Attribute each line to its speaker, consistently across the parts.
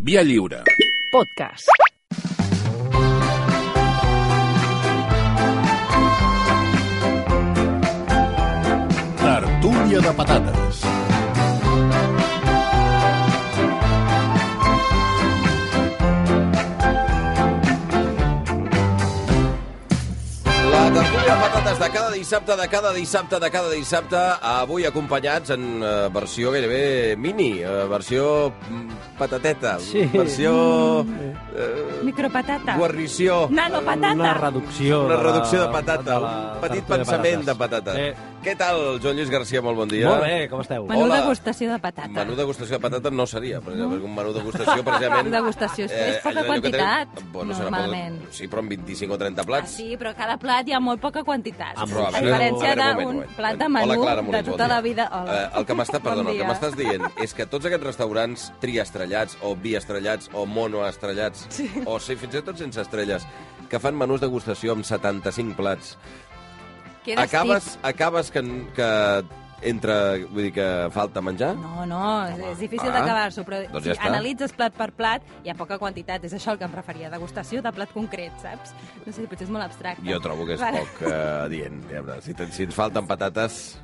Speaker 1: Via lliure.
Speaker 2: Podcast.
Speaker 1: Tertúlia de patates.
Speaker 3: La tertúlia de patates de cada dissabte, de cada dissabte, de cada dissabte, avui acompanyats en eh, versió gairebé mini, eh, versió mm, patateta,
Speaker 4: Sí.
Speaker 3: versió
Speaker 5: Mm.
Speaker 3: eh,
Speaker 5: Micropatata.
Speaker 3: guarnició,
Speaker 5: Nanopatata.
Speaker 4: Una reducció.
Speaker 3: una
Speaker 4: de-
Speaker 3: reducció de patata, un petit
Speaker 4: tertúlia
Speaker 3: pensament de
Speaker 4: patates.
Speaker 3: patata.
Speaker 4: Eh,
Speaker 3: Què tal, Joan Lluís Garcia? Molt bon dia.
Speaker 4: Molt bé, com esteu?
Speaker 5: Menú
Speaker 3: Hola.
Speaker 5: degustació de patata.
Speaker 3: Menú degustació de patata no seria, per exemple, perquè un menú degustació precisament... eh,
Speaker 5: Menú degustació és- és poca
Speaker 3: allò que tenen-
Speaker 5: quantitat,
Speaker 3: Bueno, serà
Speaker 5: normalment.
Speaker 3: Poca... Sí, però amb 25 o 30
Speaker 5: Ah,
Speaker 3: plats.
Speaker 5: sí, però cada plat hi ha molt poca quantitat.
Speaker 4: Ah,
Speaker 3: Però,
Speaker 4: però,
Speaker 3: a
Speaker 5: a
Speaker 3: veure,
Speaker 5: diferència
Speaker 3: a veure, un moment,
Speaker 5: d'un
Speaker 3: un moment.
Speaker 5: plat de menú
Speaker 3: Hola, Clara
Speaker 5: de
Speaker 3: Molins,
Speaker 5: tota
Speaker 3: bon dia.
Speaker 5: la vida. Hola.
Speaker 3: Eh, el que m'està,
Speaker 5: Bon
Speaker 3: perdona, el que
Speaker 5: dia.
Speaker 3: m'estàs dient és que tots aquests restaurants triestrellats o biestrellats o monoestrellats sí. o sí, fins i tot sense estrelles que fan menús degustació amb 75 plats.
Speaker 5: Queda
Speaker 3: Acabes,
Speaker 5: estic.
Speaker 3: acabes que, que entra, vull dir que falta menjar?
Speaker 5: No, no, és, és difícil
Speaker 3: Ah,
Speaker 5: d'acabar-s'ho, però
Speaker 3: doncs
Speaker 5: si
Speaker 3: ja està.
Speaker 5: analitzes plat per plat, hi ha poca quantitat. És això el que em referia, degustació de plat concret, saps? No sé, potser és molt abstracte.
Speaker 3: Jo trobo que és
Speaker 5: Vale.
Speaker 3: poc eh, dient. diguem-ne. Si, te- si ens falten patates,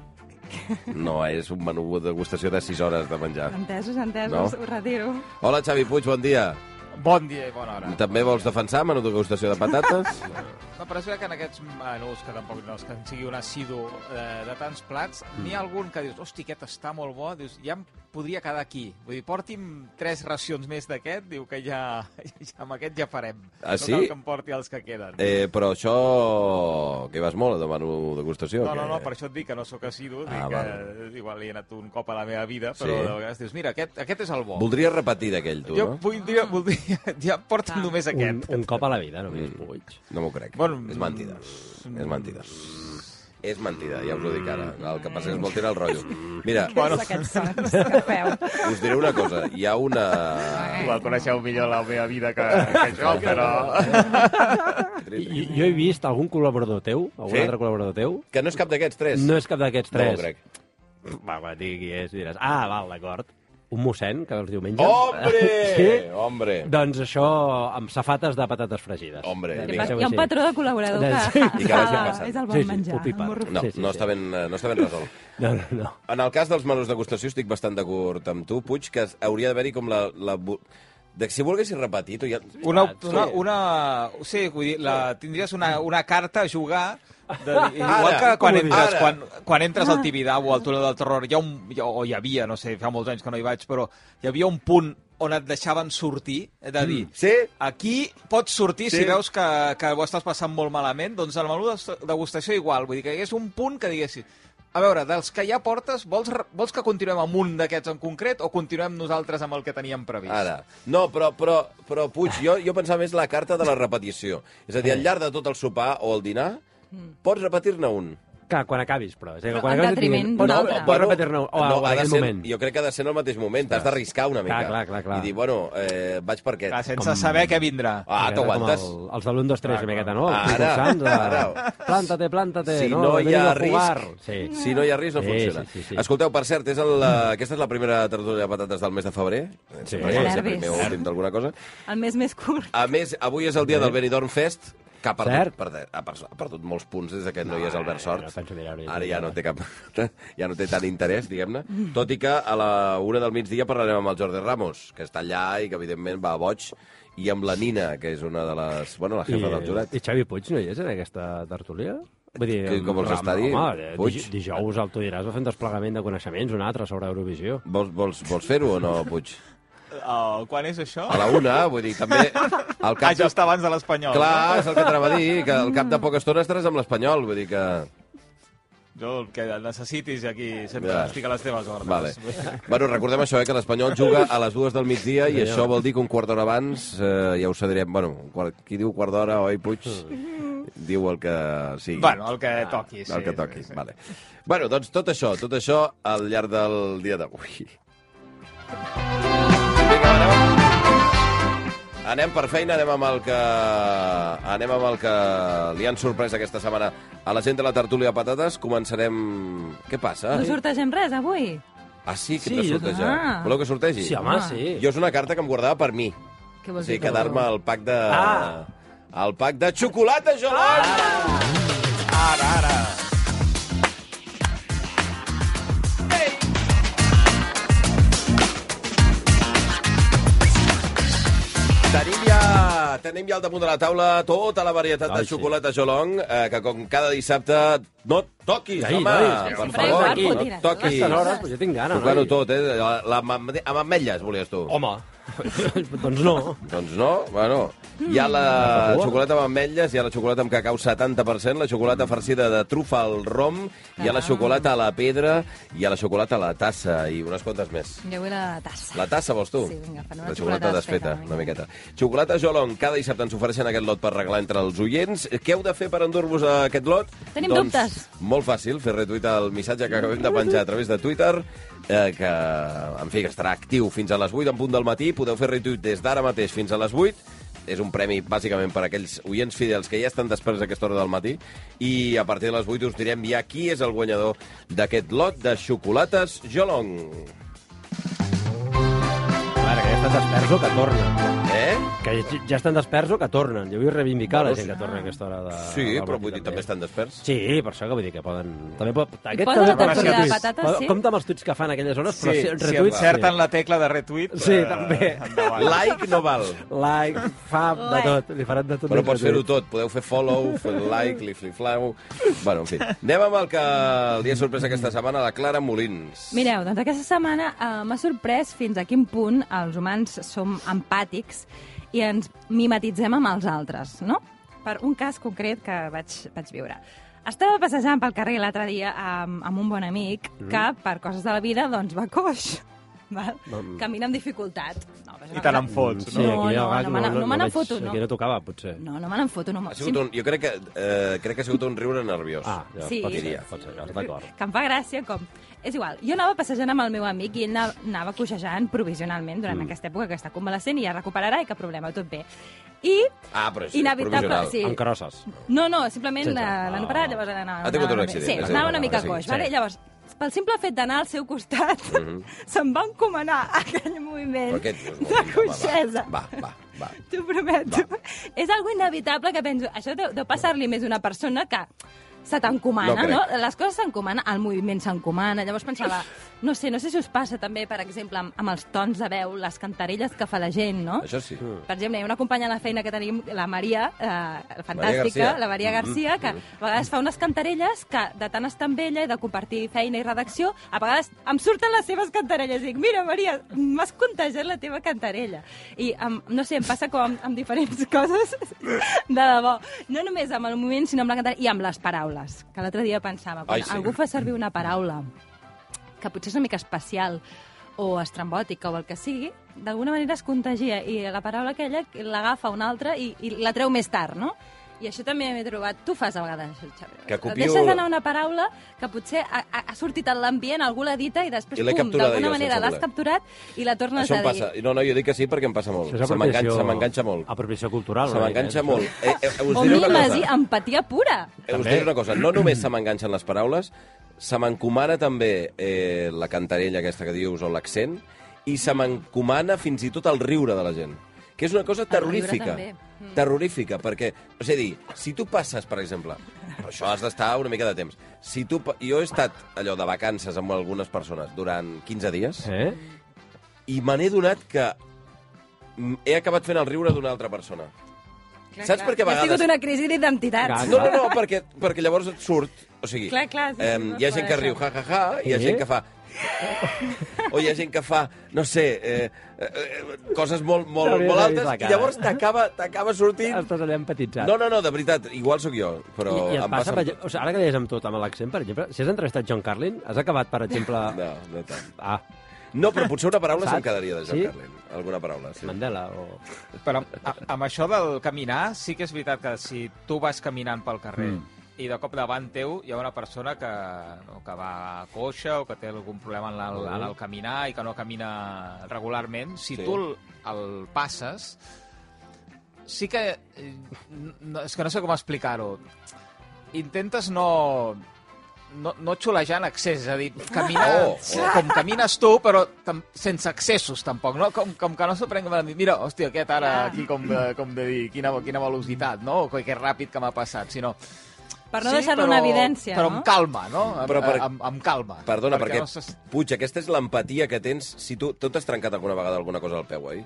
Speaker 3: no és un menú de degustació de 6 hores de menjar.
Speaker 5: Entesos, entesos,
Speaker 3: eh. No.
Speaker 5: ho retiro.
Speaker 3: Hola, Xavi Puig, bon dia.
Speaker 6: Bon dia i bona hora.
Speaker 3: També vols defensar menú de degustació de patates?
Speaker 6: No, però és veritat que en aquests menús, que tampoc no és que en sigui un assidu eh, de tants plats,
Speaker 3: Mm.
Speaker 6: n'hi ha algun que dius, hosti, aquest està molt bo, dius, ja em podria quedar aquí. Vull dir, porti'm tres racions més d'aquest, diu que ja, ja amb aquest ja farem.
Speaker 3: Ah, sí?
Speaker 6: No cal que em porti els que queden.
Speaker 3: Eh, però això... que hi vas molt, a demanar degustació?
Speaker 6: No,
Speaker 3: que...
Speaker 6: no, no, per això et dic que no sóc assidu, dic
Speaker 3: Ah,
Speaker 6: que
Speaker 3: val.
Speaker 6: igual hi he anat un cop a la meva vida,
Speaker 3: Sí.
Speaker 6: però de vegades dius, mira, aquest, aquest és el bo.
Speaker 3: Voldria repetir d'aquell, tu,
Speaker 6: jo
Speaker 3: no?
Speaker 6: voldria, voldria, ja porta'm
Speaker 5: Ah.
Speaker 6: només
Speaker 4: Un,
Speaker 6: aquest.
Speaker 4: un cop a la vida, només,
Speaker 3: Mm.
Speaker 4: Puig.
Speaker 3: No m'ho crec.
Speaker 6: Bueno,
Speaker 3: és mentida.
Speaker 6: mm,
Speaker 3: És mentida. És mentida, ja us ho dic ara. El que passa és que es vol tirar el rotllo. Mira,
Speaker 6: Bueno.
Speaker 5: Bueno. Aquests sons que feu.
Speaker 3: us diré una cosa. Hi ha una...
Speaker 6: Igual coneixeu millor la meva vida que, que jo, però...
Speaker 4: I, i- jo he vist algun col·laborador teu, algun
Speaker 3: Sí?
Speaker 4: altre col·laborador teu,
Speaker 3: Que no és cap d'aquests tres.
Speaker 4: no és cap d'aquests
Speaker 3: No
Speaker 4: tres.
Speaker 3: m'ho crec.
Speaker 4: Va, va, digui qui és, i diràs, ah, val, d'acord. Un mossèn, que els diumenges...
Speaker 3: Hombre!
Speaker 4: Sí?
Speaker 3: Hombre!
Speaker 4: Doncs això, amb safates de patates fregides.
Speaker 3: Hombre.
Speaker 4: Eh,
Speaker 3: Hi ha
Speaker 5: Hi ha
Speaker 4: penseu
Speaker 5: un
Speaker 4: així.
Speaker 5: patró de col·laborador que,
Speaker 4: Sí.
Speaker 3: I que vagi
Speaker 5: Ah,
Speaker 3: passant.
Speaker 5: és el
Speaker 4: Sí,
Speaker 5: bon
Speaker 4: sí, ho
Speaker 5: menjar.
Speaker 4: pipa.
Speaker 5: el morro
Speaker 3: No,
Speaker 4: Sí, sí,
Speaker 3: no
Speaker 4: sí.
Speaker 3: està ben, eh, no està ben resolt.
Speaker 4: No, no, no.
Speaker 3: En el cas dels menús degustació estic bastant d'acord amb tu, Puig, que hauria d'haver-hi com la... la... bu- De, si volguessis repetir, tu ja...
Speaker 6: Una, una, una, sí, vull dir, la, tindries una, una carta a jugar de, igual
Speaker 3: Ara,
Speaker 6: que quan
Speaker 3: com ho
Speaker 6: entres,
Speaker 3: dius?
Speaker 6: quan, quan entres al Tibidabo o al Túnel del Terror, hi ha un, hi ha- o hi havia, no sé, fa molts anys que no hi vaig, però hi havia un punt on et deixaven sortir, de dir,
Speaker 3: Sí?
Speaker 6: Aquí pots sortir
Speaker 3: Sí.
Speaker 6: si veus que, que ho estàs passant molt malament, doncs el menú de degustació igual. Vull dir que és un punt que diguessis a veure, dels que ja portes, vols, re- vols que continuem amb un d'aquests en concret o continuem nosaltres amb el que teníem previst?
Speaker 3: Ara. No, però, però, però Puig, jo, jo pensava més la carta de la repetició. És a dir, al llarg de tot el sopar o el dinar, pots repetir-ne un.
Speaker 4: Clar, quan acabis, però. És a dir,
Speaker 5: Però
Speaker 4: quan
Speaker 5: en
Speaker 4: acabis et
Speaker 5: detriment
Speaker 4: diguin,
Speaker 5: d'un
Speaker 4: "Pots-
Speaker 5: altre".
Speaker 4: pots
Speaker 3: bueno,
Speaker 4: repetir-ne un- o
Speaker 3: no,
Speaker 4: en
Speaker 3: ha de
Speaker 4: aquell
Speaker 3: ser,
Speaker 4: moment.
Speaker 3: Jo crec que ha de ser en el mateix moment. T'has d'arriscar una mica.
Speaker 4: Clar, clar, clar, clar.
Speaker 3: I dir, bueno, eh, vaig per aquest.
Speaker 6: Clar, sense com... saber què vindrà.
Speaker 3: Ah,
Speaker 4: Una miqueta
Speaker 3: t'aguantes.
Speaker 4: com El, els de l'1, 2, 3,
Speaker 6: Clar,
Speaker 4: una miqueta,
Speaker 6: clar.
Speaker 4: no? Els
Speaker 3: Ara.
Speaker 4: concursants, eh,
Speaker 3: Ara.
Speaker 4: Plàntate, plàntate.
Speaker 3: Si no hi
Speaker 4: venim
Speaker 3: ha
Speaker 4: a jugar.
Speaker 3: risc-
Speaker 4: Sí.
Speaker 3: Si no hi ha risc, no
Speaker 4: Sí,
Speaker 3: funciona.
Speaker 4: sí, sí, sí.
Speaker 3: Escolteu, per cert, és el, eh, aquesta és la primera tertúlia de patates del mes de febrer.
Speaker 4: Sí.
Speaker 3: No sé si és el
Speaker 5: Nervis.
Speaker 3: primer o últim d'alguna cosa.
Speaker 5: El mes més curt.
Speaker 3: A més, avui és el dia del Benidorm Fest, que ha perdut,
Speaker 4: Cert.
Speaker 3: perde- ha pers- ha perdut molts punts des de que no, hi és Albert Sort.
Speaker 4: no penso mirar-ho, ja.
Speaker 3: Ara ja no té cap... ja no té tant interès, diguem-ne. Tot i que a la una del migdia parlarem amb el Jordi Ramos, que està allà i que, evidentment, va a boig, i amb la Nina, que és una de les... Bueno, la jefa del jurat.
Speaker 4: I Xavi Puig no hi és en aquesta tertúlia? Vull dir,
Speaker 3: Que com els
Speaker 4: home,
Speaker 3: està dient,
Speaker 4: home,
Speaker 3: Puig.
Speaker 4: Puig. dijous el tu diràs, va fer un desplegament de coneixements, un altre sobre Eurovisió.
Speaker 3: Vols, vols, vols fer-ho o no, Puig?
Speaker 6: Uh, quan és això?
Speaker 3: A la una, vull dir, també... El
Speaker 6: Ah,
Speaker 3: cap
Speaker 6: ja
Speaker 3: de...
Speaker 6: està abans de l'Espanyol.
Speaker 3: Clar, és el que t'anava a dir, que al cap de poca estona estaràs amb l'Espanyol, vull dir que...
Speaker 6: Jo el que necessitis aquí sempre
Speaker 3: Ja.
Speaker 6: ja. estic a les teves ordres.
Speaker 3: Vale. Bueno, recordem això, eh, que l'Espanyol juga a les dues del migdia i
Speaker 4: Senyor.
Speaker 3: això vol dir que un quart d'hora abans eh, ja ho cedirem. Bueno, un quart... qui diu quart d'hora, oi, Puig? Diu el que sigui.
Speaker 6: Bueno, el que toqui. Sí,
Speaker 3: Ah, el que toqui,
Speaker 6: Sí, sí.
Speaker 3: vale. Bueno, doncs tot això, tot això al llarg del dia d'avui. Vinga, anem. Anem per feina, anem amb el que anem amb el que li han sorprès aquesta setmana a la gent de la tertúlia de patates. Començarem... Què passa?
Speaker 5: No sortegem res, avui.
Speaker 3: Ah, sí, que
Speaker 4: Sí,
Speaker 3: sí, t'ha
Speaker 4: jo-
Speaker 3: sortejat.
Speaker 5: Ah.
Speaker 3: Voleu que sortegi?
Speaker 4: Sí, home,
Speaker 5: Ah.
Speaker 4: sí.
Speaker 3: Jo és una carta que em guardava per mi.
Speaker 5: Què
Speaker 3: O
Speaker 5: vols
Speaker 3: sigui,
Speaker 5: dir?
Speaker 3: quedar-me al pack de...
Speaker 4: Ah.
Speaker 3: Al pack de xocolata gelat!
Speaker 6: Ara, ara.
Speaker 3: Tenim ja, tenim ja al damunt de la taula tota la varietat
Speaker 4: Ai,
Speaker 3: de
Speaker 4: sí.
Speaker 3: xocolata Jolong, eh, que com cada dissabte no et toquis,
Speaker 4: Ai,
Speaker 3: home, per
Speaker 4: nois, que
Speaker 3: favor,
Speaker 4: sempre guapo,
Speaker 3: no
Speaker 5: tira.
Speaker 3: et toquis.
Speaker 4: Aquestes hores, pues, jo tinc gana,
Speaker 3: Tocant-ho
Speaker 4: noi.
Speaker 3: tot, eh? La, la, amb amb ametlles, volies tu.
Speaker 4: Home, doncs no.
Speaker 3: Doncs no, bueno. Hi ha la
Speaker 4: favor.
Speaker 3: xocolata amb ametlles, hi ha la xocolata amb cacau 70%, la xocolata farcida de trufa al rom, hi ha la
Speaker 5: Caram.
Speaker 3: xocolata a la pedra, hi ha la xocolata a la tassa i unes quantes més.
Speaker 5: Jo vull la tassa.
Speaker 3: La tassa, vols tu?
Speaker 5: Sí, vinga, fan una
Speaker 3: La
Speaker 5: xocolata
Speaker 3: xocolata desfeta,
Speaker 5: desfeta,
Speaker 3: una miqueta. Xocolata Jolong, cada dissabte ens ofereixen aquest lot per regalar entre els oients. Què heu de fer per endur-vos a aquest lot?
Speaker 5: Tenim
Speaker 3: doncs,
Speaker 5: dubtes.
Speaker 3: Molt fàcil, fer retuit al missatge que acabem de penjar a través de Twitter, eh, que, en fi, que estarà actiu fins a les 8 en punt del matí. Podeu fer retuit des d'ara mateix fins a les 8. És un premi, bàsicament, per aquells oients fidels que ja estan després d'aquesta hora del matí. I a partir de les 8 us direm ja qui és el guanyador d'aquest lot de xocolates Jolong.
Speaker 4: A veure, que ja estan desperts o que tornen.
Speaker 3: Eh?
Speaker 4: Que ja- ja estan desperts o que tornen. Jo vull reivindicar
Speaker 3: Bueno,
Speaker 4: la gent que torna a aquesta hora de...
Speaker 3: Sí,
Speaker 4: del
Speaker 3: però
Speaker 4: matí,
Speaker 3: vull dir, també estan desperts.
Speaker 4: Sí, per això que vull dir que poden... També pot...
Speaker 5: poden
Speaker 4: poden
Speaker 6: retuits.
Speaker 4: ser tuits.
Speaker 5: Patates,
Speaker 4: Poden-
Speaker 5: sí.
Speaker 4: Compte amb els tuits que fan a aquelles hores, però
Speaker 6: Sí,
Speaker 4: si,
Speaker 6: si
Speaker 4: retuits...
Speaker 6: encerten la tecla de retuit...
Speaker 4: Sí,
Speaker 6: eh,
Speaker 4: també.
Speaker 6: endavant.
Speaker 3: Like no val.
Speaker 4: Like, fab, de
Speaker 5: Like.
Speaker 4: tot. Li faran de tot.
Speaker 3: Però
Speaker 4: un
Speaker 3: pots fer-ho
Speaker 4: retuit.
Speaker 3: tot. Podeu fer follow, fer like, li fliflau... Bueno, en fi. Anem amb el que li ha sorprès aquesta setmana, la Clara Molins.
Speaker 5: Mireu, doncs aquesta setmana eh, m'ha sorprès fins a quin punt els humans som empàtics i ens mimetitzem amb els altres, no? Per un cas concret que vaig, vaig viure. Estava passejant pel carrer l'altre dia amb, amb un bon amic
Speaker 3: Mm-hmm.
Speaker 5: que, per coses de la vida, doncs va coix. Val? Camina amb dificultat. No, però és
Speaker 6: I
Speaker 5: una
Speaker 6: te
Speaker 5: cosa-
Speaker 6: n'en fots,
Speaker 4: Sí,
Speaker 6: no?
Speaker 5: No,
Speaker 4: aquí
Speaker 5: no,
Speaker 4: al GAC
Speaker 5: no me n'en- no me n'en
Speaker 4: veig-
Speaker 5: foto, no.
Speaker 4: Aquí no tocava, potser.
Speaker 5: No, no me n'enfoto. No me...
Speaker 3: Ha sigut un, jo crec que, eh, crec que ha sigut un riure nerviós.
Speaker 4: Ah, ja,
Speaker 5: Sí.
Speaker 4: pot ser,
Speaker 3: Diria.
Speaker 4: pot ser, ja, d'acord.
Speaker 5: que em fa gràcia com... És igual, jo anava passejant amb el meu amic i ell na- anava coixejant provisionalment durant mm. aquesta època que està convalescent i ja recuperarà i que problema, tot bé. I,
Speaker 3: Ah, però sí,
Speaker 5: inevitable...
Speaker 3: provisional.
Speaker 5: Sí.
Speaker 4: Amb crosses.
Speaker 5: No, no, simplement
Speaker 4: Sí,
Speaker 5: la-
Speaker 4: clar.
Speaker 5: l'han parat, llavors anava...
Speaker 3: Ha tingut un
Speaker 5: anava-
Speaker 3: accident,
Speaker 5: Sí,
Speaker 3: és igual, Ah,
Speaker 5: anava una mica
Speaker 3: sí, Mhm.
Speaker 5: coix,
Speaker 4: sí.
Speaker 5: sí. vale? Llavors, pel simple fet d'anar al seu costat, mm -hmm. se'n va encomanar aquell moviment
Speaker 3: Però què et dius?
Speaker 5: de coixesa.
Speaker 3: Va, va, va.
Speaker 5: T'ho prometo. És algo inevitable que penso... Això deu, deu passar-li més a una persona que se
Speaker 3: No
Speaker 5: t'encomana,
Speaker 3: crec.
Speaker 5: no, Les coses s'encomanen, el moviment s'encomana. Llavors pensava, no sé, no sé si us passa també, per exemple, amb, amb els tons de veu, les cantarelles que fa la gent, no?
Speaker 3: Això sí.
Speaker 5: Per exemple, hi ha una companya a la feina que tenim, la Maria, eh, fantàstica,
Speaker 3: Garcia. Mm-hmm.
Speaker 5: la Maria Garcia, que a vegades fa unes cantarelles que de tant estar amb ella i de compartir feina i redacció, a vegades em surten les seves cantarelles. Dic, mira, Maria, m'has contagiat la teva cantarella. I, em, no sé, em passa com amb, amb diferents coses, de debò. No només amb el moment, sinó amb la cantarella i amb les paraules, que l'altre dia pensava, quan
Speaker 3: Ai, sí.
Speaker 5: algú fa servir una paraula que potser és una mica especial o estrambòtica o el que sigui, d'alguna manera es contagia i la paraula aquella l'agafa una altra i, i la treu més tard, no? I això també m'he trobat... Tu fas a vegades, això, Xavier.
Speaker 3: Que copio-
Speaker 5: Deixes anar una paraula que potser ha, ha- ha sortit en l'ambient, algú l'ha dita i després,
Speaker 3: I l'he
Speaker 5: pum,
Speaker 3: capturada
Speaker 5: d'alguna
Speaker 3: jo,
Speaker 5: manera
Speaker 3: sense
Speaker 5: l'has
Speaker 3: voler.
Speaker 5: capturat i la tornes
Speaker 3: Això em
Speaker 5: a dir.
Speaker 3: passa. No, no, jo dic que sí perquè em passa molt.
Speaker 4: Això és
Speaker 3: Se m'enganxa,
Speaker 4: apropiació-
Speaker 3: se m'enganxa molt.
Speaker 4: Apropiació cultural.
Speaker 3: Se
Speaker 4: una
Speaker 3: m'enganxa
Speaker 4: mica, eh?
Speaker 3: molt. Eh, eh, us
Speaker 5: O
Speaker 3: diré una cosa.
Speaker 5: mimesi, empatia pura.
Speaker 3: Eh, Us
Speaker 4: També.
Speaker 3: diré una cosa, no només se m'enganxen les paraules, se m'encomana també eh, la cantarella aquesta que dius o l'accent, i se m'encomana fins i tot el riure de la gent, que és una cosa
Speaker 5: riure
Speaker 3: terrorífica.
Speaker 5: també. Mm.
Speaker 3: Terrorífica, perquè, és a dir, si tu passes, per exemple, però això has d'estar una mica de temps, si tu, pa- jo he estat allò de vacances amb algunes persones durant 15 dies,
Speaker 4: Eh?
Speaker 3: i me n'he donat que mm, he acabat fent el riure d'una altra persona. Saps per què a
Speaker 5: Ha
Speaker 3: vegades-
Speaker 5: sigut una crisi d'identitat.
Speaker 4: Ah, Clar,
Speaker 3: No, no, no, perquè, perquè llavors et surt... O sigui,
Speaker 5: Clar, clar, sí,
Speaker 3: em,
Speaker 5: no
Speaker 3: hi ha
Speaker 5: es
Speaker 3: gent
Speaker 5: pot
Speaker 3: que
Speaker 5: deixar.
Speaker 3: riu ha, ha, ha, hi ha
Speaker 4: Sí.
Speaker 3: gent que fa... o hi ha gent que fa, no sé, eh, eh, eh, coses molt, molt,
Speaker 4: T'hauries
Speaker 3: molt
Speaker 4: de vist
Speaker 3: altes,
Speaker 4: la
Speaker 3: i
Speaker 4: cara.
Speaker 3: llavors t'acaba t'acaba sortint...
Speaker 4: Estàs allà empatitzat.
Speaker 3: No, no, no, de veritat, igual sóc jo, però
Speaker 4: I, i et
Speaker 3: em passa...
Speaker 4: passa,
Speaker 3: amb
Speaker 4: per, exemple- o sigui, ara que deies amb tot, amb l'accent, per exemple, si has entrevistat John Carlin, has acabat, per exemple...
Speaker 3: tot. No, no tant.
Speaker 4: Ah,
Speaker 3: No, però potser una paraula se'm
Speaker 4: Saps?
Speaker 3: quedaria de John
Speaker 4: Sí?
Speaker 3: Carlin. Alguna paraula, sí.
Speaker 4: Mandela o...
Speaker 6: Però a, amb això del caminar, sí que és veritat que si tu vas caminant pel carrer mm. i de cop davant teu hi ha una persona que, no, que va a coixa o que té algun problema en el, en el caminar i que no camina regularment, si
Speaker 3: Sí.
Speaker 6: sí. tu el, el passes, sí que... eh, No, és que no sé com explicar-ho. Intentes no no, no xulejar en excés, és a dir, camina,
Speaker 3: Oh,
Speaker 6: oh,
Speaker 3: oh.
Speaker 6: oh. com camines tu, però tam, sense excessos tampoc, no? Com, com que no s'ho prenguin per dir, mira, hòstia, aquest ara
Speaker 5: Ah.
Speaker 6: aquí com de, com de dir, quina, quina velocitat, no? O que, que ràpid que m'ha passat, sinó...
Speaker 5: Per no deixar-lo en evidència,
Speaker 6: però
Speaker 5: no?
Speaker 6: amb calma, no? Amb,
Speaker 3: Però
Speaker 6: però
Speaker 3: per-
Speaker 6: per... amb, amb calma.
Speaker 3: Perdona, perquè,
Speaker 6: No s'es-
Speaker 3: Puig, aquesta és l'empatia que tens si tu... Tu t'has trencat alguna vegada alguna cosa al peu, oi?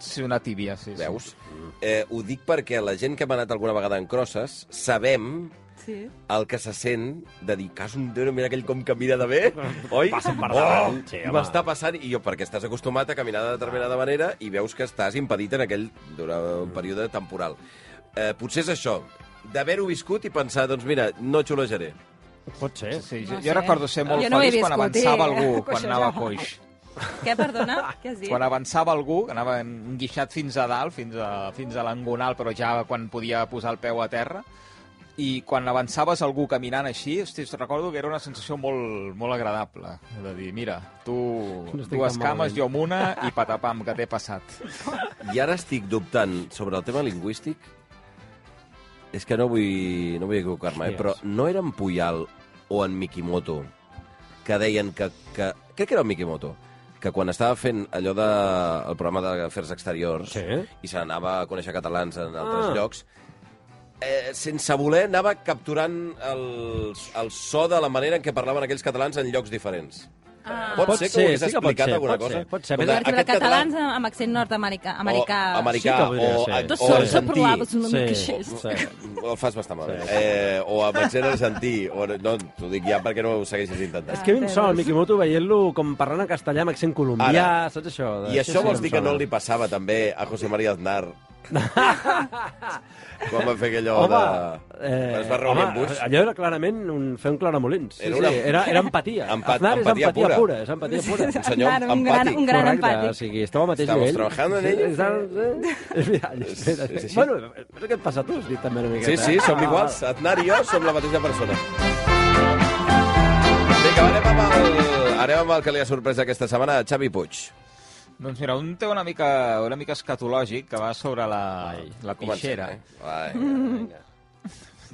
Speaker 6: sí, una tíbia, sí. sí.
Speaker 3: Veus? Eh, ho dic perquè la gent que hem anat alguna vegada en crosses sabem
Speaker 5: Sí.
Speaker 3: el que se sent de dir, cas un déu, mira aquell com camina de bé, oi? Oh,
Speaker 4: Passa per davant, sí, home.
Speaker 3: M'està passant, i jo, perquè estàs acostumat a caminar de determinada manera i veus que estàs impedit en aquell durant un període temporal. Eh, potser és això, d'haver-ho viscut i pensar, doncs mira, no xulejaré.
Speaker 4: Pot ser.
Speaker 6: Sí, jo,
Speaker 5: No
Speaker 6: jo
Speaker 5: sé.
Speaker 6: recordo ser molt
Speaker 5: Jo no ho he
Speaker 6: feliç quan
Speaker 5: viscut,
Speaker 6: avançava
Speaker 5: eh,
Speaker 6: algú, quan
Speaker 5: coixejava.
Speaker 6: anava a coix.
Speaker 5: Què, perdona? Què has dit?
Speaker 6: Quan avançava algú, que anava enguixat fins a dalt, fins a, fins a l'engonal, però ja quan podia posar el peu a terra, i quan avançaves algú caminant així, hosti, recordo que era una sensació molt, molt agradable. De dir, mira, tu
Speaker 4: No estic
Speaker 6: dues
Speaker 4: tan
Speaker 6: cames,
Speaker 4: malament.
Speaker 6: jo amb una, i patapam, que t'he passat.
Speaker 3: I ara estic dubtant sobre el tema lingüístic. És que no vull, no vull equivocar-me, eh?
Speaker 4: Yes.
Speaker 3: però no era en Puyal o en Mikimoto que deien que, que... Crec que era en Mikimoto, que quan estava fent allò del de, el programa d'Afers Exteriors
Speaker 4: Sí.
Speaker 3: i se n'anava a conèixer catalans en altres
Speaker 4: Ah.
Speaker 3: llocs, eh, sense voler anava capturant el, el so de la manera en què parlaven aquells catalans en llocs diferents.
Speaker 5: Ah.
Speaker 3: Pot,
Speaker 4: Pot
Speaker 3: ser que
Speaker 4: ser,
Speaker 3: ho hagués
Speaker 4: sí que pot
Speaker 3: explicat
Speaker 4: ser,
Speaker 3: alguna
Speaker 4: pot
Speaker 3: cosa?
Speaker 4: ser, pot ser.
Speaker 5: Per
Speaker 4: Però
Speaker 5: exemple,
Speaker 3: aquest català- Oh,
Speaker 5: catalans amb accent nord-americà. Americà.
Speaker 3: o
Speaker 4: Sí que
Speaker 3: americà,
Speaker 4: podria
Speaker 3: o,
Speaker 4: ser.
Speaker 3: a-
Speaker 5: Dos
Speaker 3: o
Speaker 5: són, són
Speaker 3: argentí.
Speaker 5: probables una mica
Speaker 4: Sí.
Speaker 5: així.
Speaker 4: Sí.
Speaker 3: El fas bastant malament. Eh, o amb accent argentí. O, no, t'ho dic ja perquè no ho segueixis intentant.
Speaker 4: És que a mi em sona el Mikimoto veient-lo com parlant en castellà amb accent colombià,
Speaker 3: Ara.
Speaker 4: saps Ah, això?
Speaker 3: I això
Speaker 4: sí,
Speaker 3: vols
Speaker 4: em
Speaker 3: dir que
Speaker 4: sona.
Speaker 3: no li passava també a José María Aznar? Quan va fer allò
Speaker 4: Home,
Speaker 3: Oh,
Speaker 4: eh,
Speaker 3: de... Quan es va reunir amb Bush.
Speaker 4: allò era clarament un, fer un claramolins. Sí,
Speaker 3: Era
Speaker 4: era,
Speaker 3: una-
Speaker 4: sí, era, era empatia.
Speaker 3: Empat-
Speaker 4: Aznar és
Speaker 3: empatia
Speaker 4: empatia
Speaker 3: pura.
Speaker 4: pura. és empatia pura.
Speaker 3: Un senyor
Speaker 5: Aznar, un gran,
Speaker 3: empàtic.
Speaker 5: un gran
Speaker 4: Correcte, o
Speaker 5: empàtic.
Speaker 4: sigui, estava al mateix
Speaker 3: Estamos
Speaker 4: nivell.
Speaker 3: trabajando en ello.
Speaker 4: ello. Espera,
Speaker 3: És així.
Speaker 4: Bueno, però què et passa a tu? Has dit també una miqueta.
Speaker 3: Sí, sí, som
Speaker 4: Ah,
Speaker 3: iguals. Aznar i jo som la mateixa persona.
Speaker 4: Ah.
Speaker 3: Vinga, anem amb el, anem amb el que li ha sorprès aquesta setmana a Xavi Puig.
Speaker 6: Doncs mira, un té una mica, una mica escatològic que va sobre la,
Speaker 4: Ai,
Speaker 6: la pixera.
Speaker 3: eh? Ai, vinga.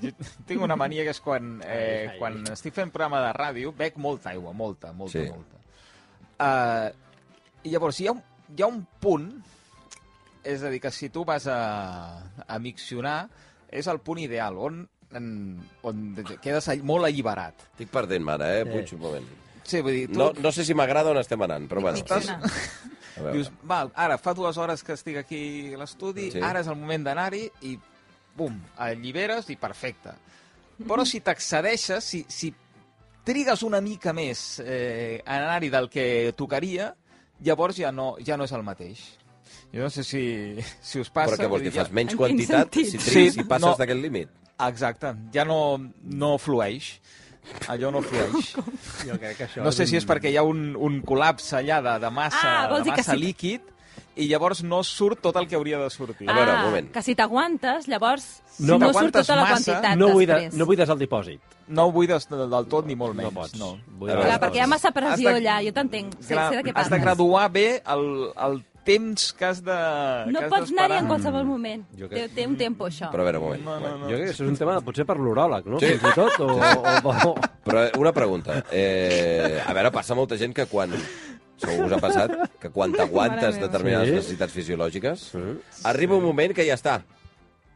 Speaker 6: Jo tinc una mania que és quan, eh,
Speaker 4: Ai, ai.
Speaker 6: quan estic fent programa de ràdio, bec molta aigua, molta, molta,
Speaker 3: Sí.
Speaker 6: sí. molta. Uh, I llavors hi ha, un, hi ha un punt, és a dir, que si tu vas a, a miccionar, és el punt ideal, on, en, on quedes all- molt alliberat.
Speaker 3: Estic perdent, mare, eh, Puig, un moment.
Speaker 6: Sí, vull dir, tu...
Speaker 3: No, no sé si m'agrada on estem anant, però bueno.
Speaker 5: Estàs-
Speaker 3: sí, sí. A veure.
Speaker 6: Dius, val, ara fa dues hores que estic aquí a l'estudi,
Speaker 3: Sí.
Speaker 6: sí. ara és el moment d'anar-hi i bum, alliberes i perfecte. Però si t'excedeixes, si, si trigues una mica més eh, a anar-hi del que tocaria, llavors ja no, ja no és el mateix. Jo no sé si, si us passa...
Speaker 3: Però què vols dir?
Speaker 6: vull dir,
Speaker 3: Fas menys
Speaker 5: En quin
Speaker 3: quantitat si,
Speaker 5: sentit?
Speaker 3: tris,
Speaker 6: Sí,
Speaker 3: si passes
Speaker 6: no.
Speaker 3: d'aquest límit?
Speaker 6: ja, Exacte, ja no, no flueix. Allò no flueix.
Speaker 4: Jo crec que això
Speaker 6: No sé si és perquè hi ha un, un col·lapse allà de, de massa,
Speaker 5: Ah, vols
Speaker 6: de
Speaker 5: dir que
Speaker 6: massa
Speaker 5: sí.
Speaker 6: líquid i llavors no surt tot el que hauria de sortir.
Speaker 5: Ah.
Speaker 3: A veure, un moment.
Speaker 5: que si t'aguantes, llavors
Speaker 6: Si
Speaker 5: no, no surt
Speaker 6: t'aguantes
Speaker 5: tota la
Speaker 6: massa,
Speaker 5: quantitat
Speaker 4: No buides,
Speaker 5: després.
Speaker 4: no buides el dipòsit.
Speaker 6: No ho buides de- del tot ni molt menys.
Speaker 4: No pots.
Speaker 6: No.
Speaker 3: Clar,
Speaker 4: Buides el
Speaker 5: Clar,
Speaker 4: dipòsit.
Speaker 5: perquè hi ha massa pressió
Speaker 6: Has de-
Speaker 5: allà, jo t'entenc, sé,
Speaker 6: Clar,
Speaker 5: sé de què
Speaker 6: has de
Speaker 5: parles.
Speaker 6: graduar bé el, el temps que has de
Speaker 5: No
Speaker 6: que has
Speaker 5: pots anar-hi
Speaker 6: d'esperar.
Speaker 5: en qualsevol moment.
Speaker 4: Jo
Speaker 5: Té,
Speaker 4: crec-
Speaker 5: té un tempo, això.
Speaker 3: Però a veure, un moment.
Speaker 6: No, no, no.
Speaker 4: Jo crec que això és un tema potser per l'uròleg, no?
Speaker 3: Sí.
Speaker 4: Fins i tot, o... o, o...
Speaker 3: Però eh, una pregunta. Eh, a veure, passa molta gent que quan... Segur que us ha passat que quan t'aguantes
Speaker 5: Mare meva.
Speaker 3: determinades
Speaker 4: Sí.
Speaker 3: necessitats fisiològiques, arriba un moment que ja està.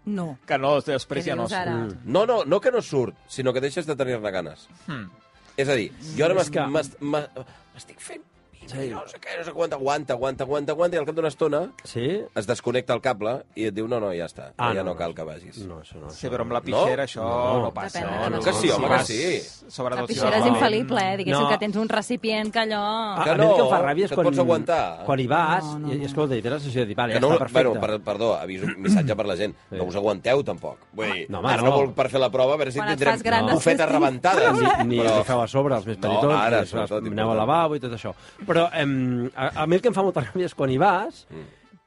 Speaker 5: No.
Speaker 6: Que no, després
Speaker 5: Què
Speaker 6: ja no
Speaker 5: dius
Speaker 6: surt.
Speaker 5: ara?
Speaker 3: No, no, no que no surt, sinó que deixes de tenir-ne ganes.
Speaker 6: Hmm.
Speaker 3: És a dir, jo ara
Speaker 4: És
Speaker 3: m'est-
Speaker 4: que-
Speaker 3: m'est- m'est- m'estic fent... Sí. No sé què, no sé quant, aguanta, aguanta, aguanta, aguanta, i al cap d'una estona
Speaker 4: Sí?
Speaker 3: es desconnecta el cable i et diu, no, no, ja està,
Speaker 4: Ah,
Speaker 3: ja
Speaker 4: no,
Speaker 3: no,
Speaker 4: no.
Speaker 3: cal que vagis.
Speaker 4: No, això no.
Speaker 6: Sí, però amb la pixera
Speaker 3: No?
Speaker 6: no? això no,
Speaker 4: No.
Speaker 6: passa.
Speaker 5: Depèn de la
Speaker 3: Que sí, home, que sí.
Speaker 6: Sobretot
Speaker 5: La
Speaker 6: si
Speaker 5: pixera és
Speaker 6: vas-
Speaker 5: infal·lible, eh? Diguéssim
Speaker 4: No.
Speaker 5: que tens un recipient que allò...
Speaker 4: Ah,
Speaker 3: Que
Speaker 4: a mi el que
Speaker 3: no,
Speaker 4: em fa ràbia és
Speaker 3: que et
Speaker 4: quan,
Speaker 3: pots aguantar.
Speaker 4: quan hi vas,
Speaker 5: No,
Speaker 4: no,
Speaker 5: no,
Speaker 4: no, i, i escolta, i tens la sensació de dir, vale,
Speaker 3: Que
Speaker 4: ja no,
Speaker 3: no,
Speaker 4: està perfecte.
Speaker 3: bueno, per, perdó, aviso, missatge per la gent. Sí. No us aguanteu, tampoc. Vull dir,
Speaker 4: No,
Speaker 3: no,
Speaker 4: home,
Speaker 3: ara no.
Speaker 4: no.
Speaker 3: vol per fer la prova, a veure si
Speaker 5: Quan et
Speaker 3: tindrem
Speaker 5: fas gran, després
Speaker 3: bufetes
Speaker 5: tens-
Speaker 3: rebentades.
Speaker 4: ni, ni però... feu a sobre els més
Speaker 3: No,
Speaker 4: petitons,
Speaker 3: ara,
Speaker 4: i
Speaker 3: sobretot,
Speaker 4: aneu
Speaker 3: important. Mm.
Speaker 4: al lavabo i tot això. Però em, a, a mi el que em fa molta ràbia és quan hi vas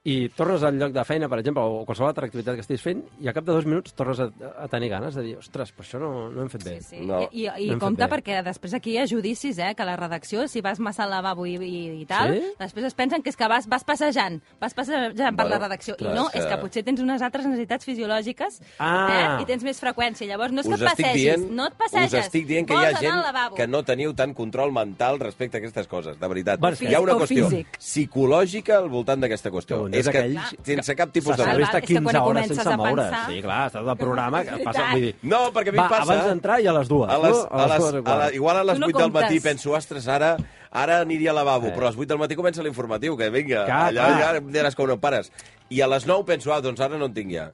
Speaker 4: i tornes al lloc de feina, per exemple, o qualsevol altra activitat que estiguis fent, i al cap de dos minuts tornes a, a tenir ganes de dir, ostres, però això no, no hem fet bé.
Speaker 5: Sí, sí.
Speaker 3: No.
Speaker 5: No. I, i,
Speaker 4: Eh, No
Speaker 5: i
Speaker 4: hem
Speaker 5: compte
Speaker 4: fet bé.
Speaker 5: perquè després aquí hi ha judicis, eh, que la redacció, si vas massa al lavabo i, i, i tal,
Speaker 4: Sí?
Speaker 5: sí? després es pensen que és que vas, vas passejant, vas passejant bueno, per
Speaker 3: Bueno,
Speaker 5: la redacció.
Speaker 3: clar,
Speaker 5: I no,
Speaker 3: és que-
Speaker 5: és que potser tens unes altres necessitats fisiològiques
Speaker 4: Ah.
Speaker 5: eh, i tens més freqüència. Llavors no és
Speaker 3: us
Speaker 5: que et
Speaker 3: estic
Speaker 5: passegis,
Speaker 3: dient,
Speaker 5: no et passeges.
Speaker 3: Us estic dient que hi
Speaker 5: vols
Speaker 3: ha
Speaker 5: anar al
Speaker 3: gent
Speaker 5: lavabo.
Speaker 3: que no teniu tant control mental respecte a aquestes coses, de veritat.
Speaker 4: Bueno, és
Speaker 3: hi ha
Speaker 5: que-
Speaker 3: una
Speaker 5: o
Speaker 3: qüestió
Speaker 5: físic.
Speaker 3: psicològica al voltant d'aquesta qüestió.
Speaker 4: Un
Speaker 3: és
Speaker 4: és
Speaker 3: que
Speaker 4: aquells
Speaker 3: sense cap tipus
Speaker 5: se
Speaker 3: de...
Speaker 5: serveix
Speaker 4: s'assabenta
Speaker 5: És que quan
Speaker 4: 15 hores
Speaker 5: comences
Speaker 4: sense
Speaker 5: a
Speaker 4: moure's.
Speaker 5: pensar-
Speaker 4: Sí, clar, estàs del programa que passa...
Speaker 5: Veritat.
Speaker 4: Vull dir,
Speaker 3: No, perquè a mi
Speaker 4: va,
Speaker 3: em passa...
Speaker 4: abans d'entrar i a les dues.
Speaker 3: A les,
Speaker 4: no?
Speaker 3: a les,
Speaker 4: dues i
Speaker 3: a
Speaker 4: quart.
Speaker 3: la, igual a les
Speaker 5: Tu no
Speaker 3: 8 del matí
Speaker 5: comptes.
Speaker 3: penso, ostres, ara, ara aniria al lavabo,
Speaker 4: Eh.
Speaker 3: però a les 8 del matí comença l'informatiu, que vinga,
Speaker 4: Clar,
Speaker 3: allà
Speaker 4: clar.
Speaker 3: ja em diràs que no pares. I a les 9 penso, ah, doncs ara no en tinc ja.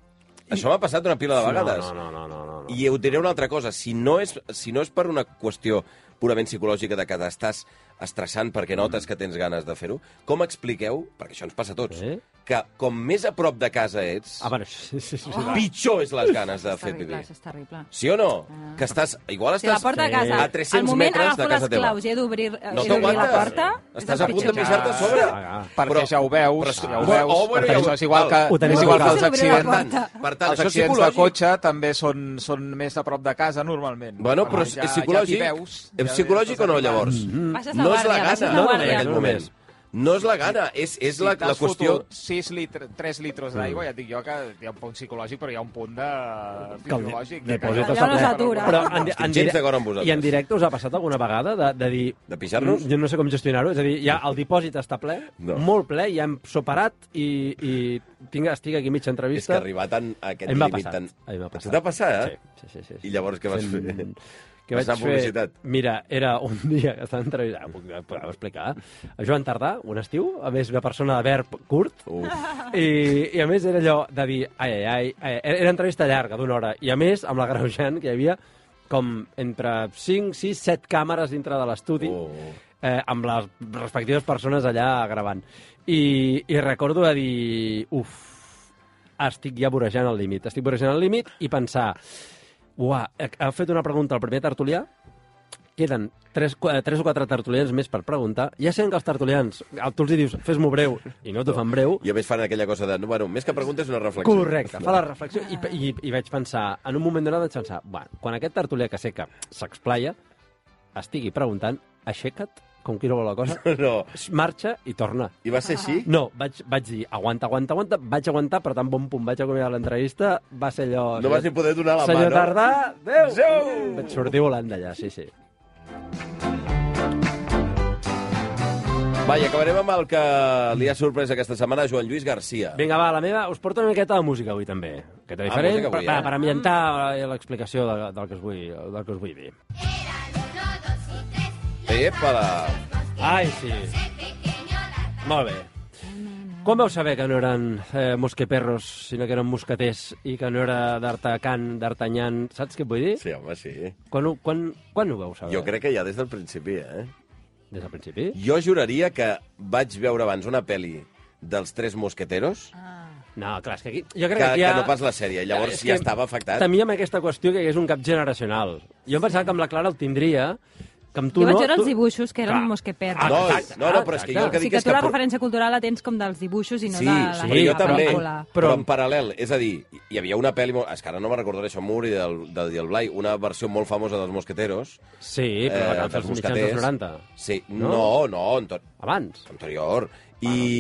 Speaker 3: Això m'ha passat una pila de vegades.
Speaker 4: No, no, no, no, no, no.
Speaker 3: I ho diré una altra cosa, si no és, si no és per una qüestió purament psicològica de que t'estàs estressant perquè
Speaker 4: Mm.
Speaker 3: notes que tens ganes de fer-ho, com expliqueu, perquè això ens passa a tots,
Speaker 4: Sí.
Speaker 3: que com més a prop de casa ets,
Speaker 4: Ah, bueno, sí, sí, sí. sí.
Speaker 3: pitjor és les ganes de
Speaker 5: És
Speaker 3: fer
Speaker 5: terrible,
Speaker 3: pipí.
Speaker 5: això és terrible.
Speaker 3: Sí o no? Que estàs... Igual
Speaker 5: Si la
Speaker 3: estàs eh,
Speaker 5: porta a casa,
Speaker 3: a 300
Speaker 5: al moment
Speaker 3: metres de
Speaker 5: agafo
Speaker 3: casa
Speaker 5: les
Speaker 3: teva.
Speaker 5: claus i he d'obrir eh,
Speaker 3: No
Speaker 5: he d'obrir la
Speaker 3: t'aguantes.
Speaker 5: porta, és
Speaker 3: Estàs
Speaker 5: el
Speaker 3: a punt de
Speaker 5: pitjor.
Speaker 3: pixar-te a sobre.
Speaker 4: Ah,
Speaker 6: Perquè
Speaker 3: Però-
Speaker 6: ja ho veus,
Speaker 3: però-
Speaker 6: ja ho
Speaker 3: Oh,
Speaker 6: veus.
Speaker 3: oh, bueno, ja ho-
Speaker 6: és igual que,
Speaker 4: Ho tenim
Speaker 6: és igual que els
Speaker 5: al
Speaker 3: Per
Speaker 5: calç. Obrir la
Speaker 6: accidents,
Speaker 3: tant, per tant
Speaker 6: els
Speaker 3: això és
Speaker 6: accidents de
Speaker 3: psicològic.
Speaker 6: cotxe també són, són més a prop de casa, normalment.
Speaker 3: Bueno, però és,
Speaker 6: ja-
Speaker 3: és psicològic,
Speaker 6: Ja t'hi veus,
Speaker 3: és psicològic o no, llavors?
Speaker 5: Baixes la
Speaker 3: No és la
Speaker 5: guàrdia, baixes
Speaker 3: gana,
Speaker 5: la
Speaker 3: no, en
Speaker 5: guàrdia.
Speaker 3: aquell moment. No és la gana, és, és la, la qüestió... Mm.
Speaker 6: 6 litres, 3 litres d'aigua, ja et dic jo que hi ha un punt psicològic, però hi ha un punt de...
Speaker 4: Que el
Speaker 6: fisiològic.
Speaker 4: depòsit
Speaker 5: Allò no s'atura.
Speaker 4: Però en,
Speaker 3: Estic
Speaker 4: en,
Speaker 3: gens
Speaker 4: direc-
Speaker 3: d'acord amb vosaltres.
Speaker 4: I en directe us ha passat alguna vegada de, de dir...
Speaker 3: De pixar-nos?
Speaker 4: "Mm, Jo no sé com gestionar-ho. És a dir, ja el dipòsit està ple,
Speaker 3: No.
Speaker 4: no. molt ple, ja hem soparat i, i tinc, estic aquí mitja
Speaker 3: És que
Speaker 4: entrevista.
Speaker 3: arribar tan a aquest
Speaker 4: A mi m'ha
Speaker 3: límit
Speaker 4: passat.
Speaker 3: tan...
Speaker 4: A mi m'ha
Speaker 3: Potser
Speaker 4: passat.
Speaker 3: T'ha passat, eh?
Speaker 4: Sí, sí, sí, sí, sí.
Speaker 3: I llavors què vas fer?
Speaker 4: Fent-
Speaker 3: Què vas fer? publicitat.
Speaker 4: Mira, era un dia que estava entrevistant... Puc, puc explicar? A Joan Tardà, un estiu, a més, una persona de verb curt,
Speaker 3: Uf,
Speaker 4: i, I a més era allò de dir, ai, ai, ai, ai era era entrevista llarga d'una hora, i a més amb la greujant que hi havia com entre 5, 6, 7 càmeres dintre de l'estudi,
Speaker 3: Oh.
Speaker 4: eh, amb les respectives persones allà gravant. I, i recordo de dir, uf, estic ja vorejant el límit, estic vorejant el límit i pensar, uah, ha ha fet una pregunta al primer tertulià, queden 3, 3 o 4 tertulians més per preguntar, ja sabem que els tertulians, tu els hi dius, fes-m'ho breu, i no t'ho fan breu,
Speaker 3: I a més fan aquella cosa de... no, Bueno, més que preguntes, una reflexió.
Speaker 4: Correcte, fa la reflexió i, i, i vaig pensar, en un moment donat vaig pensar, bueno, quan aquest tertulià que sé que s'explaya estigui preguntant, aixeca't, com qui no vol la cosa,
Speaker 3: No,
Speaker 4: marxa i torna.
Speaker 3: i va ser així?
Speaker 4: No, vaig, vaig dir, aguanta, aguanta, aguanta, vaig aguantar, per tant, bon punt, vaig acomiadar l'entrevista, va ser allò...
Speaker 3: No vas ni poder donar la mà,
Speaker 4: Senyor
Speaker 3: no?
Speaker 4: Tardà, adéu!
Speaker 3: Adéu!
Speaker 4: Vaig sortir volant d'allà, sí, sí.
Speaker 3: Va, i acabarem amb el que li ha sorprès aquesta setmana a Joan Lluís Garcia.
Speaker 4: Vinga, va, la meva... Us porto una miqueta de música avui, també. Que té
Speaker 3: Ah,
Speaker 4: diferent,
Speaker 3: música
Speaker 4: per,
Speaker 3: avui,
Speaker 4: per,
Speaker 3: eh?
Speaker 4: per ambientar eh, l'explicació del, del, que us vull, del que us vull dir.
Speaker 3: Epala!
Speaker 4: Ai, sí. Molt bé. Com vau saber que no eren eh, mosqueperros, sinó que eren mosqueters i que no era d'Artacan, d'Artanyan... Saps què et vull dir?
Speaker 3: Sí, home, sí.
Speaker 4: Quan, ho- quan, quan ho vau saber?
Speaker 3: Jo crec que ja des del principi, eh?
Speaker 4: Des del principi?
Speaker 3: Jo juraria que vaig veure abans una pel·li dels Tres Mosqueteros
Speaker 4: No, clar, és que aquí... Jo
Speaker 3: que,
Speaker 4: crec que, aquí
Speaker 3: que
Speaker 4: ha...
Speaker 3: no pas la sèrie. Llavors
Speaker 4: És
Speaker 3: ja
Speaker 4: que
Speaker 3: estava afectat.
Speaker 4: Temia amb aquesta qüestió que hi hagués un cap generacional. Jo em pensava que amb la Clara el tindria, que amb tu
Speaker 5: Jo
Speaker 4: no...
Speaker 5: vaig veure els
Speaker 4: tu-
Speaker 5: dibuixos, que eren
Speaker 4: Clar.
Speaker 5: mosqueperros.
Speaker 4: Ah,
Speaker 3: No,
Speaker 4: exacte,
Speaker 3: no, no, però és que jo el
Speaker 5: O
Speaker 3: que
Speaker 5: sigui
Speaker 3: dic
Speaker 5: que
Speaker 3: és
Speaker 5: tu
Speaker 3: que...
Speaker 5: la
Speaker 3: pro-
Speaker 5: referència cultural la tens com dels dibuixos i no
Speaker 3: Sí,
Speaker 5: de la,
Speaker 3: sí, però jo
Speaker 5: la
Speaker 3: també.
Speaker 5: pel·lícula.
Speaker 3: Però en paral·lel, és a dir, hi havia una pel·li... molt- És que ara no me recordaré això, Moore i del, del, del Blai, una versió molt famosa dels Mosqueteros.
Speaker 4: Sí, però eh,
Speaker 3: dels
Speaker 4: als mitjans
Speaker 3: mosqueters.
Speaker 4: dels 90.
Speaker 3: Sí,
Speaker 4: No?
Speaker 3: no, no, Anton,
Speaker 4: Abans.
Speaker 3: anterior.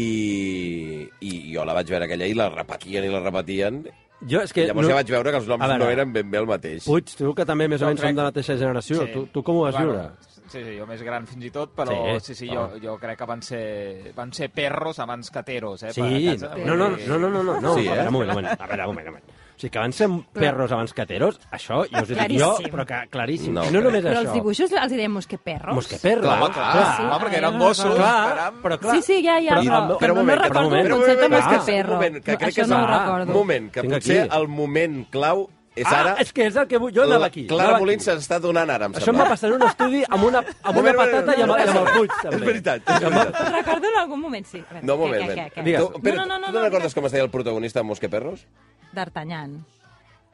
Speaker 3: I, I jo la vaig veure aquella i la repetien i la repetien.
Speaker 4: Jo és
Speaker 3: Que
Speaker 4: que...
Speaker 3: Llavors no... ja vaig veure que els noms
Speaker 4: A veure.
Speaker 3: no eren ben bé el mateix.
Speaker 4: Puig, tu que també més o
Speaker 6: Jo
Speaker 4: menys som
Speaker 6: crec-
Speaker 4: de la mateixa generació, tu, tu com ho vas viure?
Speaker 3: eh,
Speaker 6: Sí, sí, jo més gran fins i tot, però sí, sí,
Speaker 4: Sí, Ah.
Speaker 6: jo,
Speaker 4: clar.
Speaker 6: jo crec que van ser, van ser perros abans que teros, eh? per
Speaker 4: Sí,
Speaker 6: casa.
Speaker 4: no, no, no, no, no, no, no.
Speaker 3: Sí,
Speaker 4: a veure,
Speaker 3: eh?
Speaker 4: un moment, un moment, a veure, un moment, un moment. O sigui, que van ser perros abans que teros, això ja us ho dic jo,
Speaker 5: Claríssim.
Speaker 4: però que claríssim.
Speaker 3: No
Speaker 4: No,
Speaker 3: ho
Speaker 4: I no
Speaker 3: crec.
Speaker 4: només
Speaker 5: Però
Speaker 4: això.
Speaker 5: els dibuixos els direm mosqueperros.
Speaker 4: Mosqueperros.
Speaker 3: Clar, clar,
Speaker 6: sí.
Speaker 4: clar,
Speaker 6: Clar, perquè eren
Speaker 5: Ah,
Speaker 6: mossos.
Speaker 4: clar, però clar.
Speaker 5: Sí, sí, ja, ja, però,
Speaker 4: Però- Però-
Speaker 5: però,
Speaker 4: però un
Speaker 5: no
Speaker 4: moment, però un
Speaker 5: recordo
Speaker 4: moment,
Speaker 5: el
Speaker 4: però
Speaker 5: concepte
Speaker 4: un moment,
Speaker 5: més que
Speaker 4: que-
Speaker 5: perro.
Speaker 3: un moment, que crec que
Speaker 5: Això no
Speaker 4: és-
Speaker 5: ho
Speaker 3: Un
Speaker 5: recordo.
Speaker 3: moment, que
Speaker 4: Tinc
Speaker 3: potser
Speaker 4: aquí.
Speaker 3: el moment clau és
Speaker 4: Ah,
Speaker 3: ara...
Speaker 4: és que és el que vull, jo anava aquí.
Speaker 3: Clara
Speaker 4: anava aquí.
Speaker 3: Molins s'està donant ara, em
Speaker 4: Això em va passar en un estudi amb una, amb una
Speaker 3: Moment, moment,
Speaker 4: patata i amb, i amb el Puig, també.
Speaker 3: És veritat, és veritat.
Speaker 5: Ho recordo en algun moment, sí. A veure,
Speaker 3: No, un moment,
Speaker 5: què,
Speaker 3: moment.
Speaker 5: què, què, què?
Speaker 4: Digues.
Speaker 3: Tu, Pere,
Speaker 5: No, no, no,
Speaker 3: tu no
Speaker 5: no,
Speaker 3: recordes com es deia el protagonista de Mosqueperros?
Speaker 5: D'Artanyan.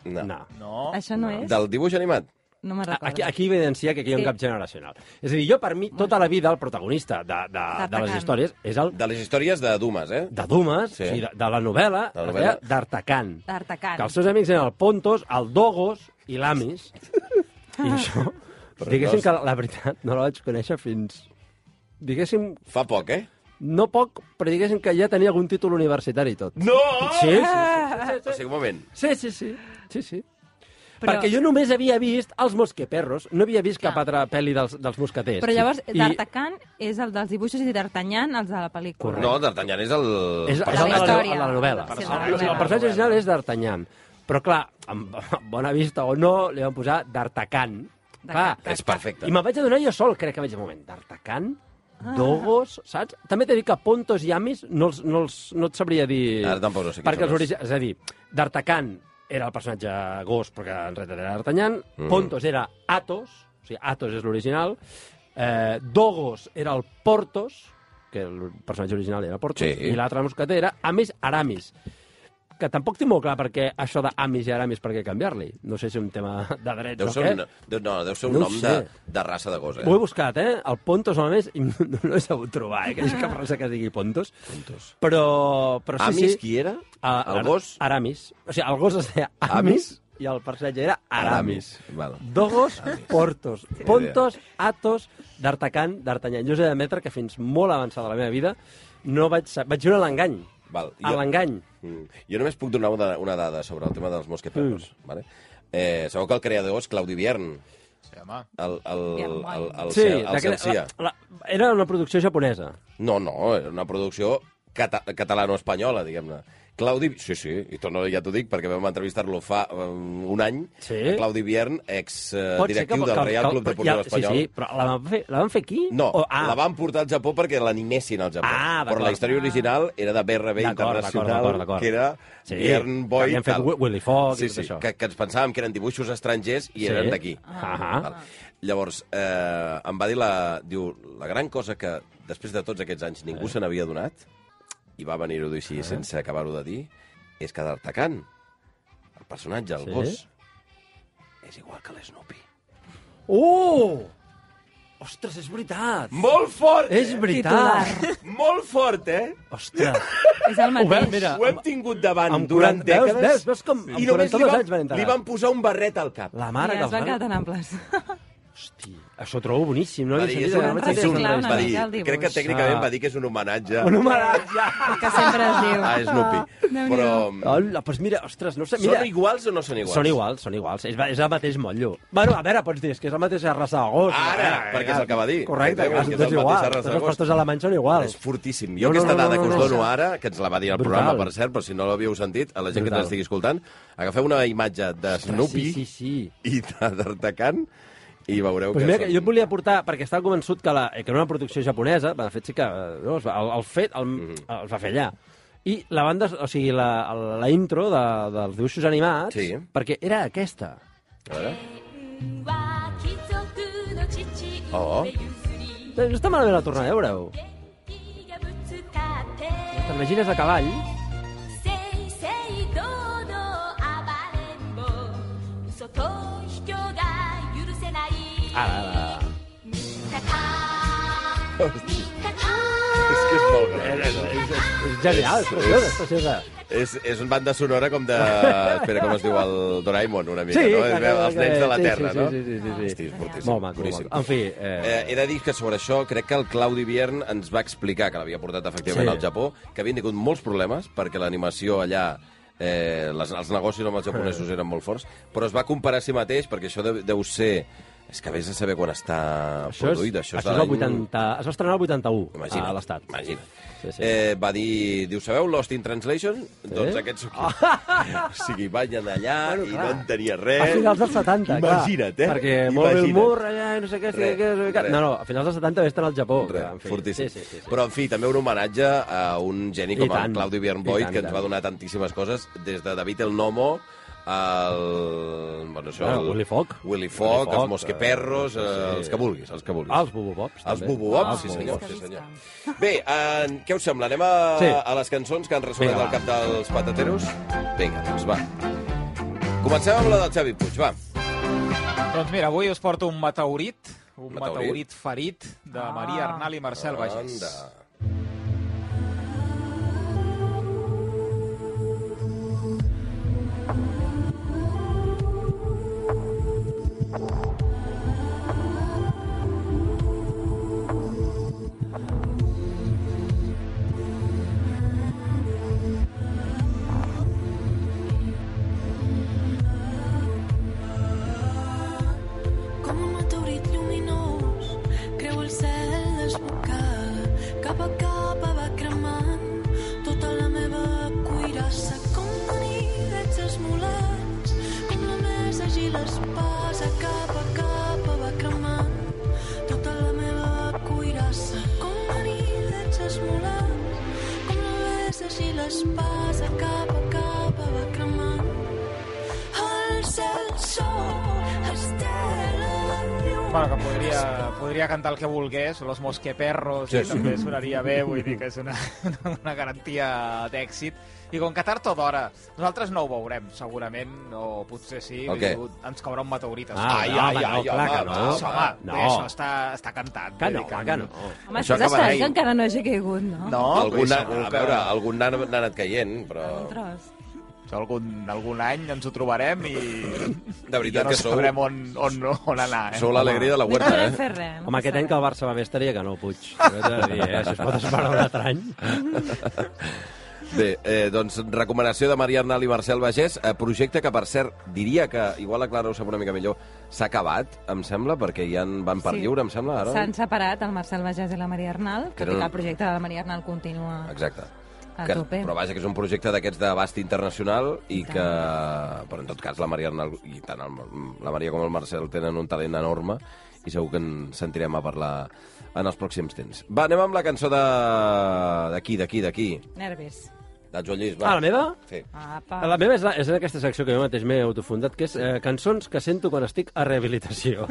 Speaker 3: No.
Speaker 4: No.
Speaker 6: No.
Speaker 5: Això no és?
Speaker 3: Del dibuix animat?
Speaker 5: No me'n recordo.
Speaker 4: Aquí, aquí evidencia que aquí hi ha un
Speaker 5: Sí.
Speaker 4: cap generacional. És a dir, jo per mi, tota la vida, el protagonista de, de, de les
Speaker 5: D'Artacán.
Speaker 4: històries és el
Speaker 3: De les històries de Dumas, eh?
Speaker 4: de Dumas,
Speaker 3: Sí.
Speaker 4: sí. o sigui, de, de la novel·la,
Speaker 3: De la
Speaker 4: es
Speaker 3: novel·la.
Speaker 4: deia d'Artacan.
Speaker 5: D'Artacan.
Speaker 4: Que els seus amics eren el Pontos, el Dogos i l'Amis. I això,
Speaker 3: Però
Speaker 4: Però diguéssim
Speaker 3: no-
Speaker 4: no... que la, la veritat no la vaig conèixer fins... Diguéssim,
Speaker 3: Fa poc, eh?
Speaker 4: no poc, però diguéssim que ja tenia algun títol universitari i tot.
Speaker 3: No!
Speaker 4: Sí, sí,
Speaker 3: O sigui, un moment.
Speaker 4: sí, sí, sí, sí, sí.
Speaker 5: Però-
Speaker 4: Però... Perquè jo només havia vist Els Mosqueperros, no havia vist cap altra pel·li dels, dels mosqueters.
Speaker 5: Però llavors,
Speaker 4: I-
Speaker 5: D'Artacan és el dels dibuixos i d'Artanyan, els de la pel·lícula.
Speaker 4: Correcte.
Speaker 3: No, D'Artagnan és el...
Speaker 4: És, és
Speaker 5: la
Speaker 4: el de la,
Speaker 5: història.
Speaker 4: de la novel·la.
Speaker 5: Sí,
Speaker 6: la
Speaker 4: el,
Speaker 6: novel·la.
Speaker 4: el personatge original és d'Artanyan. Però, clar, amb bona vista o no, li van posar d'Artacan. Clar,
Speaker 5: D'Artacan.
Speaker 3: És perfecte.
Speaker 4: i me'n vaig adonar jo sol, crec que vaig dir, un moment, d'Artacan?
Speaker 5: Ah.
Speaker 4: Dogos, saps? També t'he dit que Pontos i Amis no, els, no, els, no et sabria dir...
Speaker 3: Ara tampoc no sé qui
Speaker 4: Perquè
Speaker 3: són els-
Speaker 4: els orig... És a dir, d'Artacan era el personatge gos, perquè en realitat era d'Artanyan. Mm. Pontos era Atos, o sigui, Atos és l'original. Eh, Dogos era el Portos, que el personatge original era Portos,
Speaker 3: Sí.
Speaker 4: i l'altre mosqueter era Amis Aramis que tampoc tinc molt clar perquè això d'Amis i Aramis per què canviar-li. No sé si és un tema de drets
Speaker 3: Deu
Speaker 4: o
Speaker 3: ser
Speaker 4: què.
Speaker 3: un, deu, no, deu ser un
Speaker 4: No ho
Speaker 3: nom de,
Speaker 4: sé.
Speaker 3: de raça de gos, eh?
Speaker 4: Ho he buscat, eh? El Pontos, a més, i no, no he sabut trobar, eh? Que és cap raça que es digui Pontos. Pontos. Però, però sí,
Speaker 3: Amis,
Speaker 4: sí.
Speaker 3: qui era?
Speaker 4: A-
Speaker 3: el
Speaker 4: Ar-
Speaker 3: gos?
Speaker 4: Aramis. O sigui, el gos es deia Amis,
Speaker 3: Amis?
Speaker 4: i el personatge era Aramis.
Speaker 3: Val.
Speaker 4: Dogos, Portos,
Speaker 3: idea.
Speaker 4: Pontos, Atos, d'Artacan, d'Artanyan. Jo us he d'admetre que fins molt avançada la meva vida no vaig, sa- vaig veure l'engany.
Speaker 3: Val.
Speaker 4: A l'engany.
Speaker 3: Mm. Jo només puc donar una, una dada sobre el tema dels mosqueteros. Mm. Vale? Eh, sabeu que el creador és Claudi Viern,
Speaker 6: Sí, home.
Speaker 3: el, el, el,
Speaker 5: Viern,
Speaker 3: el, el,
Speaker 4: Sí,
Speaker 3: el, el
Speaker 4: d'aquella-
Speaker 3: Celsia.
Speaker 4: la, la, era una producció japonesa.
Speaker 3: No, no, era una producció cata catalano-espanyola, diguem-ne. Claudi... Sí, sí, i tot no, ja t'ho dic, perquè vam entrevistar-lo fa um, un any.
Speaker 4: Sí?
Speaker 3: Claudi Viern, ex-directiu
Speaker 4: Pot
Speaker 3: eh,
Speaker 4: ser que-
Speaker 3: directiu del
Speaker 4: que-
Speaker 3: Real
Speaker 4: que-
Speaker 3: Club de
Speaker 4: ja-
Speaker 3: Futbol Espanyol.
Speaker 4: Sí, sí, però la van fer, la van fer aquí?
Speaker 3: No,
Speaker 4: O,
Speaker 3: ah. la van portar al Japó perquè l'animessin al Japó.
Speaker 4: Oh, Ah, d'acord.
Speaker 3: Però la història original era de BRB
Speaker 4: D'acord, d'acord,
Speaker 3: Internacional,
Speaker 4: d'acord, d'acord.
Speaker 3: que era
Speaker 4: Sí,
Speaker 3: Viern Boy...
Speaker 4: que havien fet
Speaker 3: tal.
Speaker 4: Wi- Willy Fox
Speaker 3: sí,
Speaker 4: i tot
Speaker 3: sí,
Speaker 4: això.
Speaker 3: Que, que ens pensàvem que eren dibuixos estrangers i
Speaker 4: Sí.
Speaker 3: eren d'aquí.
Speaker 4: Ah.
Speaker 3: Val. Llavors, eh, em va dir la... Diu, la gran cosa que després de tots aquests anys ningú se n'havia donat, i va venir-ho a dir així sense acabar-ho de dir, és que d'Artacan, el personatge, el
Speaker 4: Sí?
Speaker 3: gos, és igual que l'Snoopy.
Speaker 4: Oh! Ostres, és veritat!
Speaker 3: Molt fort! eh?
Speaker 4: És veritat!
Speaker 3: Molt fort, eh?
Speaker 4: Ostres!
Speaker 5: És el mateix.
Speaker 4: Obert, mira,
Speaker 3: Ho hem tingut davant
Speaker 4: amb
Speaker 3: durant
Speaker 4: 40 veus-
Speaker 3: dècades.
Speaker 4: veus- veus com amb
Speaker 3: I només
Speaker 4: 42
Speaker 3: li van,
Speaker 4: anys van entrar.
Speaker 3: li van posar un barret al cap.
Speaker 4: La
Speaker 5: Mare
Speaker 4: mare
Speaker 5: I es
Speaker 4: que els
Speaker 5: van
Speaker 4: van...
Speaker 5: quedar tan amples.
Speaker 4: Hosti, això ho trobo boníssim. No
Speaker 3: Va
Speaker 4: havia
Speaker 3: dir, és
Speaker 4: sentit
Speaker 3: un,
Speaker 5: van
Speaker 4: no
Speaker 5: reciclar
Speaker 3: és un,
Speaker 5: una
Speaker 3: va
Speaker 5: mica
Speaker 3: dir,
Speaker 5: el dibuix.
Speaker 3: crec que tècnicament va dir que és Ah. un homenatge
Speaker 4: Un homenatge!
Speaker 5: El que sempre es diu.
Speaker 3: a Snoopy.
Speaker 5: Déu-n'hi-do.
Speaker 3: Però
Speaker 4: Hola, doncs mira, ostres, no ho sé, mira...
Speaker 3: són iguals o no són iguals?
Speaker 4: Són iguals, són iguals. És, és el mateix motllo. Bueno, a veure, pots dir, és que és la mateixa raça de gos.
Speaker 3: Ara, perquè és el que va dir.
Speaker 4: Correcte,
Speaker 3: Entenem,
Speaker 4: que
Speaker 3: que és
Speaker 4: són
Speaker 3: la
Speaker 4: tots
Speaker 3: mateixa
Speaker 4: iguals.
Speaker 3: raça de
Speaker 4: Tots els
Speaker 3: gos.
Speaker 4: pastors alemanys són iguals.
Speaker 3: És fortíssim. Jo
Speaker 4: No, no,
Speaker 3: aquesta
Speaker 4: no,
Speaker 3: dada
Speaker 4: no,
Speaker 3: que us
Speaker 4: no.
Speaker 3: dono ara, que ens la va dir al
Speaker 4: Brutal.
Speaker 3: programa, per cert, però si no l'havíeu sentit, a la gent que
Speaker 4: Brutal.
Speaker 3: ens estigui escoltant, agafeu una imatge de Snoopy
Speaker 4: Sí, sí, sí.
Speaker 3: i de d'Artacan i veureu
Speaker 4: Pues
Speaker 3: que
Speaker 4: mira, que
Speaker 3: són...
Speaker 4: jo et volia portar, perquè estava convençut que, la, que era una producció japonesa, de fet sí que eh, no, es va, el, el fet el,
Speaker 3: Mm-hmm.
Speaker 4: el va fer allà. I la banda, o sigui, la, la intro de, dels dibuixos animats,
Speaker 3: Sí.
Speaker 4: perquè era aquesta.
Speaker 3: A veure.
Speaker 1: は貴族の父
Speaker 3: ああ
Speaker 1: 上譲り
Speaker 4: No Doncs està malament a tornar a veure-ho.
Speaker 1: 元気がぶつかって
Speaker 4: T'imagines a cavall?
Speaker 1: 正々堂々暴れん坊嘘と卑怯が許せない
Speaker 4: Ara, ara.
Speaker 1: 見たか見たか
Speaker 3: És que és molt gran.
Speaker 4: És, és genial, és preciosa, és preciosa.
Speaker 3: És, és una banda sonora com de... Espera, com es diu el Doraemon, una mica,
Speaker 4: Sí,
Speaker 3: no?
Speaker 4: que
Speaker 3: És,
Speaker 4: acaba
Speaker 3: els nens de la
Speaker 4: que- sí,
Speaker 3: Terra,
Speaker 4: sí,
Speaker 3: no?
Speaker 4: sí, sí, sí, sí.
Speaker 3: Hosti, és fortíssim,
Speaker 4: Molt maco, molt
Speaker 3: boníssim.
Speaker 4: maco. En fi,
Speaker 3: Eh,
Speaker 4: eh,
Speaker 3: he de dir que sobre això crec que el Claudi Viern ens va explicar que l'havia portat efectivament
Speaker 4: Sí.
Speaker 3: sí. al Japó, que havien tingut molts problemes perquè l'animació allà eh, les, els negocis amb els japonesos eren molt forts, però es va comparar a si mateix perquè això deu, deu ser... És que vés a saber quan està
Speaker 4: això és,
Speaker 3: produït.
Speaker 4: això
Speaker 3: Això,
Speaker 4: és el 80... Es va estrenar el 81
Speaker 3: Imagina't,
Speaker 4: a l'Estat.
Speaker 3: Imagina't.
Speaker 4: Sí, sí.
Speaker 3: Eh, va dir, diu, sabeu Lost in Translation? Sí? Doncs aquests són aquí. o sigui, vayan allà
Speaker 4: Ah.
Speaker 3: bueno,
Speaker 4: Bueno,
Speaker 3: i
Speaker 4: clar.
Speaker 3: no en tenia res.
Speaker 4: A finals dels 70,
Speaker 3: Eh, Imagina't,
Speaker 4: clar.
Speaker 3: eh?
Speaker 4: Perquè molt bé el
Speaker 3: Imagina't.
Speaker 4: mur, allà, i no sé què,
Speaker 3: Res,
Speaker 4: res, què, no sé què.
Speaker 3: res.
Speaker 4: No, no, a finals dels 70 va estar al Japó.
Speaker 3: Re,
Speaker 4: clar, en fi.
Speaker 3: fortíssim.
Speaker 4: Sí, sí, sí, sí.
Speaker 3: Però, en fi, també un homenatge a un geni
Speaker 4: I
Speaker 3: com
Speaker 4: tant.
Speaker 3: el Claudi
Speaker 4: I
Speaker 3: Viern Boyd,
Speaker 4: tant,
Speaker 3: que
Speaker 4: i
Speaker 3: ens
Speaker 4: tant.
Speaker 3: va donar tantíssimes coses, des de David el Nomo, el... Bueno, això,
Speaker 4: Bueno,
Speaker 3: el...
Speaker 4: Willy Fogg.
Speaker 3: Willy Fogg,
Speaker 4: Willy Fogg,
Speaker 3: els Mosqueperros,
Speaker 4: eh,
Speaker 3: eh,
Speaker 4: sí.
Speaker 3: els que vulguis, els que vulguis.
Speaker 4: Ah, els Bubobobs,
Speaker 3: Els
Speaker 4: també.
Speaker 3: Bubobobs,
Speaker 4: Ah,
Speaker 3: sí,
Speaker 4: els
Speaker 3: senyor,
Speaker 5: Bubobobs.
Speaker 3: sí, senyor. Bé, en... què us sembla? Anem a,
Speaker 4: Sí.
Speaker 3: a les cançons que han ressonat
Speaker 4: Vinga,
Speaker 3: al
Speaker 4: va.
Speaker 3: cap dels patateros? Vinga, doncs va. Comencem amb la del Xavi Puig, va.
Speaker 6: Doncs mira, avui us porto un meteorit, un
Speaker 3: Meteorit?
Speaker 6: meteorit, ferit de
Speaker 5: Ah.
Speaker 6: Maria Arnal i Marcel Bagés.
Speaker 3: Anda.
Speaker 2: Com un meteorit lluminós creu el cel desbocada cap a capa va cremant tota la meva cuirassa com paniguets esmolats com la mesa i l'espasa cap a capa va cremant tota la meva cuirassa com paniguets esmolats com la mesa i l'espasa cap a capa va cremant el cel, sol, estela, llum...
Speaker 6: Bueno, que podria, podria cantar el que volgués, Los Mosqueperros,
Speaker 3: Sí,
Speaker 6: sí,
Speaker 3: sí.
Speaker 6: sí. també sonaria bé, vull dir que és una, una garantia d'èxit. I com que tard o d'hora, nosaltres no ho veurem, segurament, o potser sí,
Speaker 3: El
Speaker 6: vull dir,
Speaker 3: què?
Speaker 6: ens caurà un meteorit.
Speaker 4: Ah,
Speaker 3: Ai,
Speaker 4: no,
Speaker 3: ai, ai,
Speaker 4: home, no, clar
Speaker 3: home,
Speaker 4: que no. Ah,
Speaker 3: va,
Speaker 6: home,
Speaker 4: no.
Speaker 6: no. bé, això està, està eh, cantat.
Speaker 4: Que
Speaker 6: vull
Speaker 4: no,
Speaker 6: dir
Speaker 4: home, que no.
Speaker 5: Home,
Speaker 3: Això acabarà
Speaker 5: estàs esperant
Speaker 3: ahí.
Speaker 5: que encara no hagi caigut, no?
Speaker 6: No,
Speaker 3: algun,
Speaker 6: vull dir,
Speaker 3: na,
Speaker 6: segur
Speaker 3: a
Speaker 6: que-
Speaker 3: veure, algun nan n'ha anat caient, però...
Speaker 5: Un tros.
Speaker 6: Això Algun, algun any ens ho trobarem i...
Speaker 3: De veritat
Speaker 6: i no
Speaker 3: que sou-
Speaker 6: sabrem on, on, on anar, eh?
Speaker 3: Sou l'alegria de la
Speaker 5: No hi
Speaker 3: huerta,
Speaker 5: podrem
Speaker 3: eh?
Speaker 5: fer res.
Speaker 4: Home, aquest any que el Barça va bé estaria que no, Puig. Jo t'he de dir, eh? Si es pot esperar un altre any.
Speaker 3: Bé, eh, doncs recomanació de Maria Arnal i Marcel Bagés, eh, projecte que, per cert, diria que, igual la Clara ho sap una mica millor, s'ha acabat, em sembla, perquè ja en van per
Speaker 5: Sí.
Speaker 3: lliure, em sembla, ara.
Speaker 5: S'han separat el Marcel Bagès i la Maria Arnal,
Speaker 3: Que
Speaker 5: que,
Speaker 3: no-
Speaker 5: que el projecte de la Maria Arnal continua...
Speaker 3: Exacte.
Speaker 5: A
Speaker 3: que,
Speaker 5: tope.
Speaker 3: Però vaja, que és un projecte d'aquests d'abast internacional i
Speaker 5: I tant.
Speaker 3: que... Però en tot cas, la Maria Arnal, i tant el, la Maria com el Marcel tenen un talent enorme i segur que en sentirem a parlar en els pròxims temps. Va, anem amb la cançó de... d'aquí, d'aquí, d'aquí.
Speaker 5: Nervis.
Speaker 3: Del Joan Lluís, va.
Speaker 4: Ah, la meva?
Speaker 3: Sí.
Speaker 5: Apa.
Speaker 4: La meva és, la, és aquesta secció que jo mateix m'he autofundat, que és eh, cançons que sento quan estic a rehabilitació.